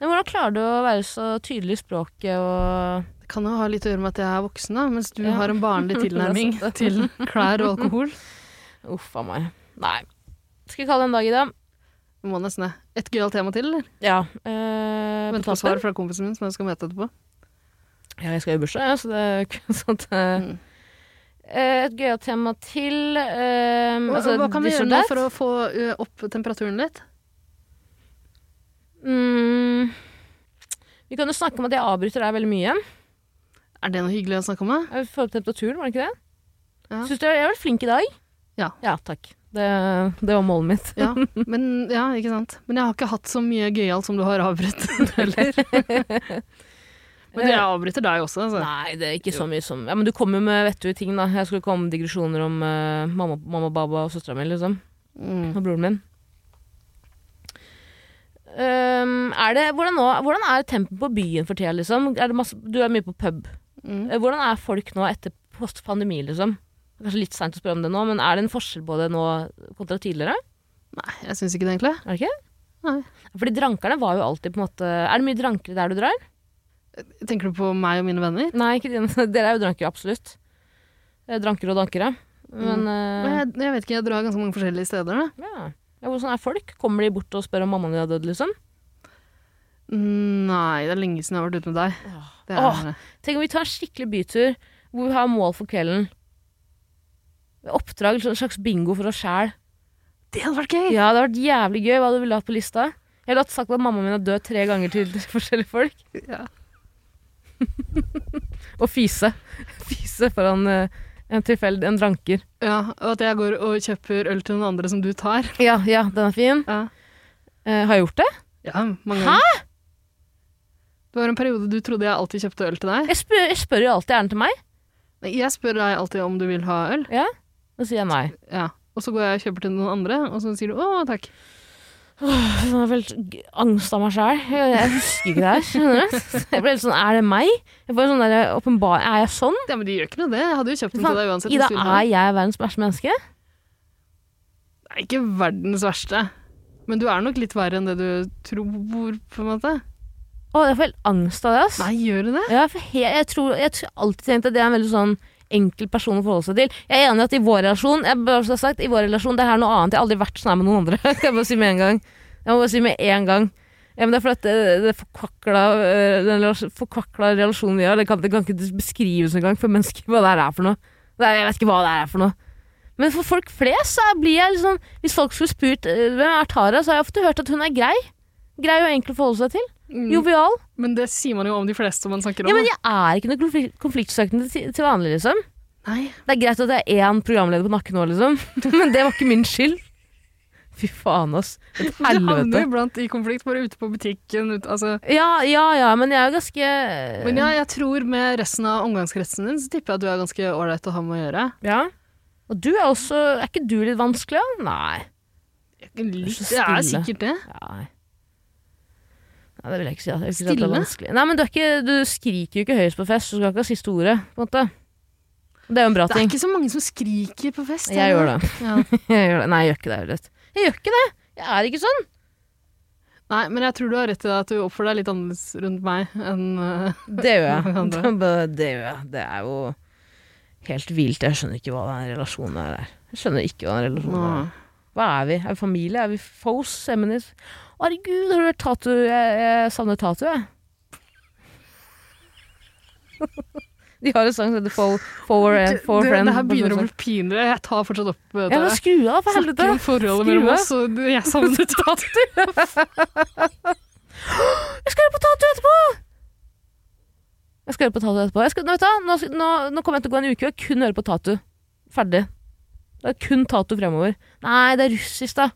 Speaker 1: Men hvordan klarer du å være så tydelig i språket og
Speaker 2: Det kan jo ha litt å gjøre med at jeg er voksen, da, mens du
Speaker 1: Ja.
Speaker 2: har en barnlig
Speaker 1: Det er
Speaker 2: tilnærming
Speaker 1: sant, det.
Speaker 2: til klær og alkohol.
Speaker 1: Uff a meg. Nei. Skal vi kalle det en dag i dag?
Speaker 2: Vi må nesten det. Et gøyalt tema til, eller?
Speaker 1: Ja. Eh,
Speaker 2: Vent på svar fra kompisen min som jeg skal møte etterpå.
Speaker 1: Ja, jeg skal i bursdag, ja, så det er jo ikke sånt eh.
Speaker 2: Mm.
Speaker 1: Eh, Et gøyalt tema til eh,
Speaker 2: Hva,
Speaker 1: altså,
Speaker 2: hva kan vi
Speaker 1: this or
Speaker 2: gjøre nå
Speaker 1: that?
Speaker 2: for å få ø, opp temperaturen litt?
Speaker 1: mm, Vi kan jo snakke om at jeg avbryter deg veldig mye.
Speaker 2: Er det noe hyggelig å snakke om? da?
Speaker 1: Jeg får opp temperaturen, var det ikke det?
Speaker 2: Ja.
Speaker 1: Syns du jeg var flink i dag?
Speaker 2: Ja.
Speaker 1: Ja, takk. Det, det var målet mitt.
Speaker 2: Ja, men, ja, ikke sant? Men jeg har ikke hatt så mye gøyalt som du har avbrutt heller. Men jeg avbryter deg også, altså.
Speaker 1: Nei, det er ikke så mye som ja, Men du kom jo med vettuge ting, da. Jeg skulle komme med digresjoner om eh, mamma, mamma, baba og søstera mi, liksom.
Speaker 2: Mm.
Speaker 1: Og broren min. Ehm, er det, hvordan, nå, hvordan er tempen på byen for tida, liksom? Er det masse, du er mye på pub.
Speaker 2: Mm.
Speaker 1: Eh, Hvordan er folk nå etter post pandemi, liksom? Det er Kanskje litt seint å spørre om det nå, men er det en forskjell på det nå kontra tidligere?
Speaker 2: Nei, jeg syns ikke det, egentlig.
Speaker 1: Er det ikke?
Speaker 2: Nei.
Speaker 1: Fordi drankerne var jo alltid på en måte Er det mye drankere der du drar?
Speaker 2: Tenker du på meg og mine venner?
Speaker 1: Nei, ikke dine. Dere er jo drankere, absolutt. Eh, Drankere og dankere. Men
Speaker 2: Men
Speaker 1: eh,
Speaker 2: jeg, jeg vet ikke, jeg drar ganske mange forskjellige steder, da.
Speaker 1: ja. ja. Hvordan er folk? Kommer de bort og spør om mammaen din er død, liksom?
Speaker 2: Mm, Nei, det er lenge siden jeg har vært ute med deg. Det er,
Speaker 1: Åh. Tenk om vi tar en skikkelig bytur hvor vi har mål for kvelden. Oppdrag, en slags bingo for oss sjæl.
Speaker 2: Det hadde vært gøy!
Speaker 1: Ja, det hadde vært jævlig gøy. Hva hadde du ville hatt på lista? Jeg hadde hatt sagt at mammaen min er død tre ganger til forskjellige folk.
Speaker 2: Ja.
Speaker 1: Og fise. Fise foran eh, en tilfeldig en dranker.
Speaker 2: Ja, og at jeg går og kjøper øl til noen andre som du tar.
Speaker 1: Ja, ja, den er fin.
Speaker 2: Ja,
Speaker 1: Eh, har jeg gjort det?
Speaker 2: mange
Speaker 1: Hæ?
Speaker 2: ganger. Det var en periode du trodde jeg alltid kjøpte øl til deg.
Speaker 1: Jeg spør, jeg spør jo alltid gjerne til meg.
Speaker 2: Nei, Jeg spør deg alltid om du vil ha øl.
Speaker 1: Da sier jeg nei.
Speaker 2: Ja. Og så går jeg og kjøper til noen andre, og så sier du 'å, takk'.
Speaker 1: Det var vel g- angst av meg sjæl. Jeg jeg husker ikke det her. skjønner du? Jeg ble helt sånn Er det meg? Jeg får en sånn der, åpenbar, Er jeg sånn?
Speaker 2: Ja, Men de gjør ikke noe det. Jeg hadde jo kjøpt den
Speaker 1: Faen,
Speaker 2: til deg uansett. hvis
Speaker 1: Ida,
Speaker 2: du sånn? ville ha
Speaker 1: er
Speaker 2: den.
Speaker 1: jeg verdens verste menneske?
Speaker 2: Det er ikke verdens verste. Men du er nok litt verre enn det du tror, på en måte.
Speaker 1: Å, jeg får helt angst av det, ass.
Speaker 2: Nei, gjør du det?
Speaker 1: Ja, jeg, får he- jeg, tror, jeg tror alltid tenkt at det er en veldig sånn enkel person å forholde seg til. Jeg er enig i at i vår relasjon, jeg bare så sagt, i vår relasjon, det her er noe annet. Jeg har aldri vært sånn her med noen andre. Kan jeg bare si med en gang. Jeg må bare si med en gang. Ja, men det er fordi at det, det forkvakla, eh, den relas- forkvakla relasjonen vi har, det kan, det kan ikke beskrives engang for mennesker hva det her er for noe. Det er, jeg vet ikke hva det her er for noe. Men for folk flest så blir jeg liksom Hvis folk skulle spurt eh, hvem er Tara, så har jeg ofte hørt at hun er grei. Grei og enkel å forholde seg til.
Speaker 2: Mm.
Speaker 1: Jovial.
Speaker 2: Men det sier man jo om de fleste man snakker om.
Speaker 1: Ja, men
Speaker 2: da.
Speaker 1: jeg er ikke noe konflik- konfliktsøkende til, til vanlig, liksom.
Speaker 2: Nei.
Speaker 1: Det er greit at det er én programleder på nakken nå, liksom. Men det var ikke min skyld. Fy faen, ass. Et
Speaker 2: Du havner
Speaker 1: helvete.
Speaker 2: iblant i konflikt, bare ute på butikken. Ut, altså.
Speaker 1: Ja, ja, ja, men jeg er jo ganske
Speaker 2: Men ja,
Speaker 1: Eh.
Speaker 2: jeg tror med resten av omgangskretsen din, så tipper jeg at du er ganske ålreit å ha med å gjøre.
Speaker 1: Ja. Og du er også Er ikke du litt vanskelig, da? Nei.
Speaker 2: Litt,
Speaker 1: så
Speaker 2: det er
Speaker 1: stille.
Speaker 2: sikkert det.
Speaker 1: Nei. Nei, det vil jeg ikke si. at- Jeg vil ikke si at det er
Speaker 2: Stille?
Speaker 1: vanskelig. Nei, men du, er ikke, du skriker jo ikke høyest på fest, så du skal ikke ha siste ordet, på en måte. Det er jo en bra
Speaker 2: Det er
Speaker 1: ting.
Speaker 2: ikke så mange som skriker på fest.
Speaker 1: Jeg gjør det.
Speaker 2: Ja.
Speaker 1: Jeg gjør det. Nei, jeg gjør ikke det. Ørlet. Jeg gjør ikke det. Jeg er ikke sånn.
Speaker 2: Nei, men jeg tror du har rett i det at du oppfører deg litt annerledes rundt meg enn eh,
Speaker 1: Det gjør jeg.
Speaker 2: Mange andre.
Speaker 1: Det, bare- det gjør jeg. Det er jo helt vilt. Jeg skjønner ikke hva den relasjonen her er. Jeg skjønner ikke hva den relasjonen er. Hva er vi? Er vi familie? Er vi foes? Eminis? Herregud, har du hørt Tatu? Jeg, jeg savner Tatu, jeg. De har en sang som heter Foe Foe- Foe
Speaker 2: Det-
Speaker 1: Friend.
Speaker 2: Det her begynner å bli pinlig. Jeg tar fortsatt opp eh,
Speaker 1: Ja, men
Speaker 2: Tara.
Speaker 1: skru av, for helvete!
Speaker 2: Snakker om forholdet mellom
Speaker 1: Skru av.
Speaker 2: oss, og du- jeg savner Tatu.
Speaker 1: Jeg skal høre på Tato etterpå! Jeg skal høre på Tato etterpå. Jeg skal, nå, vet du, hva, nå, skal- nå, nå kommer jeg til å gå en uke og kun høre på Tato. Ferdig. Det er kun Tato fremover. Nei, det er russisk, da.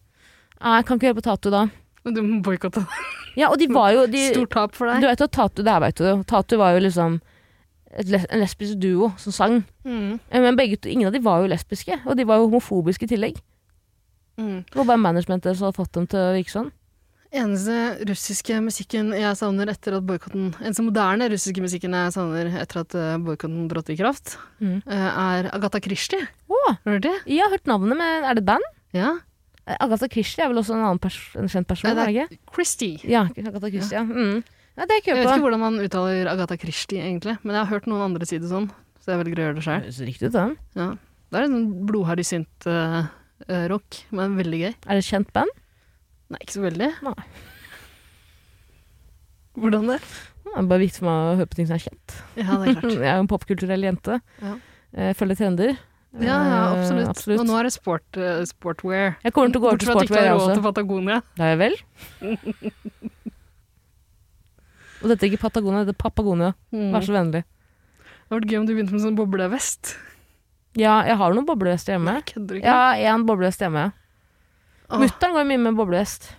Speaker 1: Nei, jeg kan ikke høre på Tato da.
Speaker 2: Men Du må boikotte.
Speaker 1: Ja, og de var jo de,
Speaker 2: Stort tap for
Speaker 1: Du
Speaker 2: deg.
Speaker 1: vet jo at Tato, det her vet du jo. Tato var jo liksom et, les- en lesbisk duo som sang.
Speaker 2: Mm.
Speaker 1: Eh, Men begge, to- ingen av de var jo lesbiske, og de var jo homofobiske i tillegg.
Speaker 2: Mm.
Speaker 1: Det var bare managementet som hadde fått dem til å virke sånn.
Speaker 2: Eneste russiske musikken jeg savner etter at boikotten Eneste moderne russiske musikken jeg savner etter at eh, boikotten trådte i kraft,
Speaker 1: Mm.
Speaker 2: eh, er Agatha Christie.
Speaker 1: Å,
Speaker 2: Hører du det?
Speaker 1: jeg har hørt navnet, men er det et band?
Speaker 2: Ja.
Speaker 1: Eh, Agatha Christie er vel også en, annen pers en kjent person?
Speaker 2: Nei,
Speaker 1: er det ikke?
Speaker 2: Christie.
Speaker 1: Ja, Agatha Christie, ja. Mm. Nei, det er
Speaker 2: Jeg
Speaker 1: jeg
Speaker 2: vet
Speaker 1: ikke
Speaker 2: ikke
Speaker 1: på.
Speaker 2: hvordan man uttaler Agatha Christie, egentlig, men jeg har hørt noen andre si det sånn, så jeg velger å gjøre det
Speaker 1: Det
Speaker 2: sjøl.
Speaker 1: høres riktig ut, den.
Speaker 2: Ja. Det er en sånn blodharry synt-rock, men veldig gøy.
Speaker 1: Er det et kjent band?
Speaker 2: Nei, ikke så veldig.
Speaker 1: Nei.
Speaker 2: Hvordan det?
Speaker 1: Det er bare viktig for meg å høre på ting som er kjent.
Speaker 2: Ja, det er klart.
Speaker 1: Jeg er jo en popkulturell jente.
Speaker 2: Mm. Ja.
Speaker 1: Eh, Følger trender.
Speaker 2: Ja, ja,
Speaker 1: Eh,
Speaker 2: absolutt.
Speaker 1: absolutt.
Speaker 2: Og nå er det sport, eh, sportwear.
Speaker 1: Jeg kommer til å gå over til
Speaker 2: Bortsett fra at du ikke
Speaker 1: sportwear,
Speaker 2: har
Speaker 1: jeg
Speaker 2: råd
Speaker 1: også.
Speaker 2: til Patagonia.
Speaker 1: Da er jeg vel. Og dette er ikke Patagonia, det er Papagonia.
Speaker 2: Mm.
Speaker 1: Vær så vennlig.
Speaker 2: Det hadde vært gøy om du begynte med sånn boblevest.
Speaker 1: Ja, jeg har noen boblevester hjemme.
Speaker 2: Kødder du
Speaker 1: Jeg har én boblevest hjemme.
Speaker 2: Åh.
Speaker 1: Mutter'n går mye med boblevest.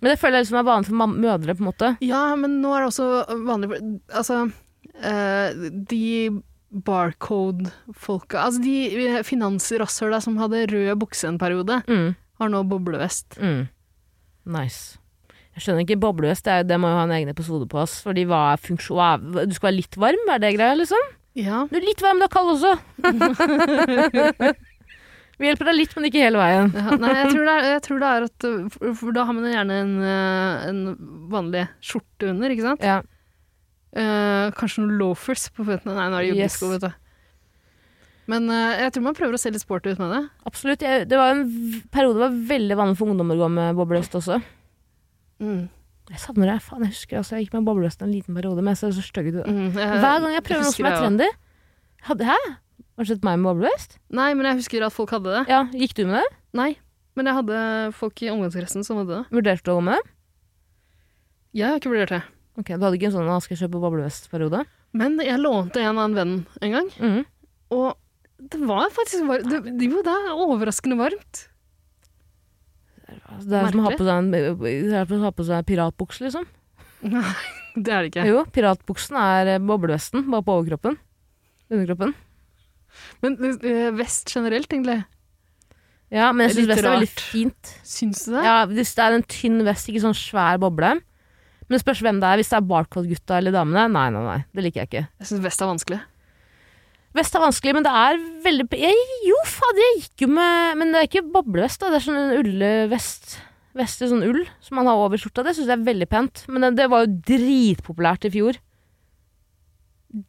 Speaker 1: Men det føler jeg liksom er vanlig for mam- mødre, på en måte.
Speaker 2: Ja, men nå er det også vanlig Altså, eh, de barcode-folka Altså de finansrasshøla som hadde rød bukse en periode,
Speaker 1: Mm.
Speaker 2: har nå boblevest.
Speaker 1: Mm. Nice. Jeg skjønner ikke, boblevest, det, er- det må jo ha en egen episode på oss. Fordi hva er funksjon... hva er- Du skal være litt varm, er det greia, liksom?
Speaker 2: Ja.
Speaker 1: Du er litt varm, du er kald også! Vi hjelper deg litt, men ikke hele veien.
Speaker 2: ja. Nei, jeg tror, det er, jeg tror det er at eh, for- For da har man gjerne en, eh, en vanlig skjorte under, ikke sant?
Speaker 1: Ja.
Speaker 2: Eh, kanskje noen loafers på føttene. Nei, nå er det
Speaker 1: Yes.
Speaker 2: joggesko, vet du. Men eh, jeg tror man prøver å se litt sporty ut med det.
Speaker 1: Absolutt. Jeg, det var en v- periode det var veldig vanlig for ungdommer å gå med boblevest også.
Speaker 2: Mm.
Speaker 1: Jeg savner det. Faen, jeg husker altså, jeg gikk med boblevest en liten periode, men jeg ser så stygg ut.
Speaker 2: Mm, jeg-
Speaker 1: Hver gang jeg
Speaker 2: jeg
Speaker 1: prøver noe som
Speaker 2: husker
Speaker 1: er
Speaker 2: det, ja.
Speaker 1: trendy hadde, Hæ? Har du sett meg med boblevest?
Speaker 2: Nei, men jeg husker at folk hadde det.
Speaker 1: Ja, gikk du med det?
Speaker 2: Nei, men jeg hadde folk i omgangskretsen som hadde det.
Speaker 1: Vurderte du å gå med det?
Speaker 2: Jeg har ikke vurdert det.
Speaker 1: Ok, Du hadde ikke en sånn 'Nå skal jeg kjøpe boblevest'-periode?
Speaker 2: Men jeg lånte en av en venn en gang,
Speaker 1: Mm.
Speaker 2: og det var faktisk varmt. Det, det- jo, det er overraskende varmt.
Speaker 1: Altså, Det er som å ha på seg, en, det er som å ha på seg piratbukse, liksom.
Speaker 2: Nei, det er det ikke.
Speaker 1: Jo, piratbuksen er eh, boblevesten, bare på overkroppen. Underkroppen.
Speaker 2: Men eh, vest generelt, egentlig.
Speaker 1: Ja, men jeg
Speaker 2: Litt
Speaker 1: syns vest er veldig
Speaker 2: rart.
Speaker 1: fint.
Speaker 2: Syns du det?
Speaker 1: Ja, hvis det er en tynn vest, ikke sånn svær boble. Men det spørs hvem det er. Hvis det er Barcode-gutta eller damene. Nei, nei, nei. Det liker jeg ikke.
Speaker 2: Jeg syns vest er vanskelig.
Speaker 1: Vest er vanskelig, men det er veldig jeg, Jo, fader, jeg gikk jo med Men det er ikke boblevest, da. Det er sånn en ullevest. vest i sånn ull som han har over skjorta. Det syns jeg er veldig pent. Men det, det var jo dritpopulært i fjor.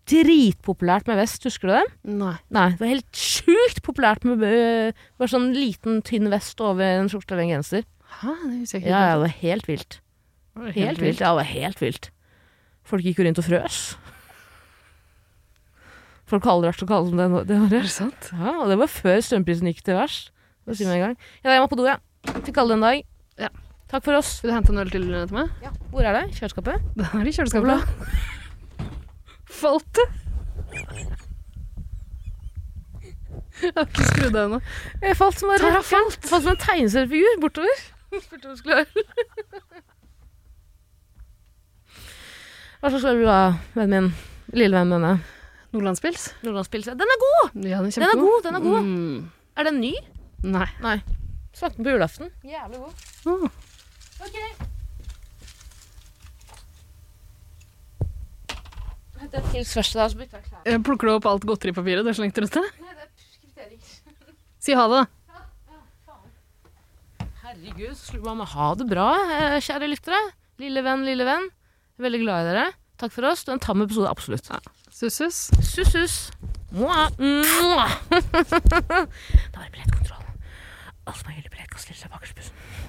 Speaker 1: Dritpopulært med vest, husker du det?
Speaker 2: Nei.
Speaker 1: Nei, det var helt sjukt populært med øh, bare sånn liten, tynn vest over en skjorte eller en genser.
Speaker 2: Hæ, det husker jeg ikke.
Speaker 1: Ja, ja, det var helt vilt. Helt, vilt. Ja, det var helt vilt. Folk gikk jo rundt og frøs. Folk har aldri vært så kalde som det nå- det
Speaker 2: Er
Speaker 1: året.
Speaker 2: det sant?
Speaker 1: Ja, og det var før strømprisen gikk til vers. Det sier meg en gang. Ja, jeg må på do, jeg. Fikk alle en dag.
Speaker 2: Ja.
Speaker 1: Takk for oss.
Speaker 2: Vil du hente en øl til eh, til meg?
Speaker 1: Hvor er det? Kjøleskapet?
Speaker 2: Den er i kjøleskapet. Falt det? Jeg har ikke skrudd av ennå.
Speaker 1: Jeg falt som, en,
Speaker 2: Tara
Speaker 1: falt. falt som en tegneseriefigur bortover. Spurte om jeg skulle ha øl. Hva slags øl vil du ha, vennen min? Lille vennen min. ja.
Speaker 2: Nordlandspils?
Speaker 1: Nordlandspilse. Den er god!
Speaker 2: Ja,
Speaker 1: Den
Speaker 2: den er
Speaker 1: er
Speaker 2: kjempegod.
Speaker 1: god! den er god.
Speaker 2: Mm.
Speaker 1: Er den ny?
Speaker 2: Nei.
Speaker 1: Nei. Smakte den på julaften. Jævlig god.
Speaker 2: Åh.
Speaker 1: Ok. Hent en pils først, da, så bytter jeg klær.
Speaker 2: Jeg Eh, Plukker du opp alt godteripapiret du slengte rundt deg?
Speaker 1: Nei, det er kryptering.
Speaker 2: Si ha det.
Speaker 1: Herregud, så slo man meg ha det bra, eh, kjære lyttere. Lille venn, lille venn. Jeg er veldig glad i dere. Takk for oss. Det var en tam episode, absolutt.
Speaker 2: Sus-sus.
Speaker 1: Sus, sus. Mwah. Mwah. da var det billettkontroll. Alt som er hyllebillett, kan stille seg bakerst i bussen.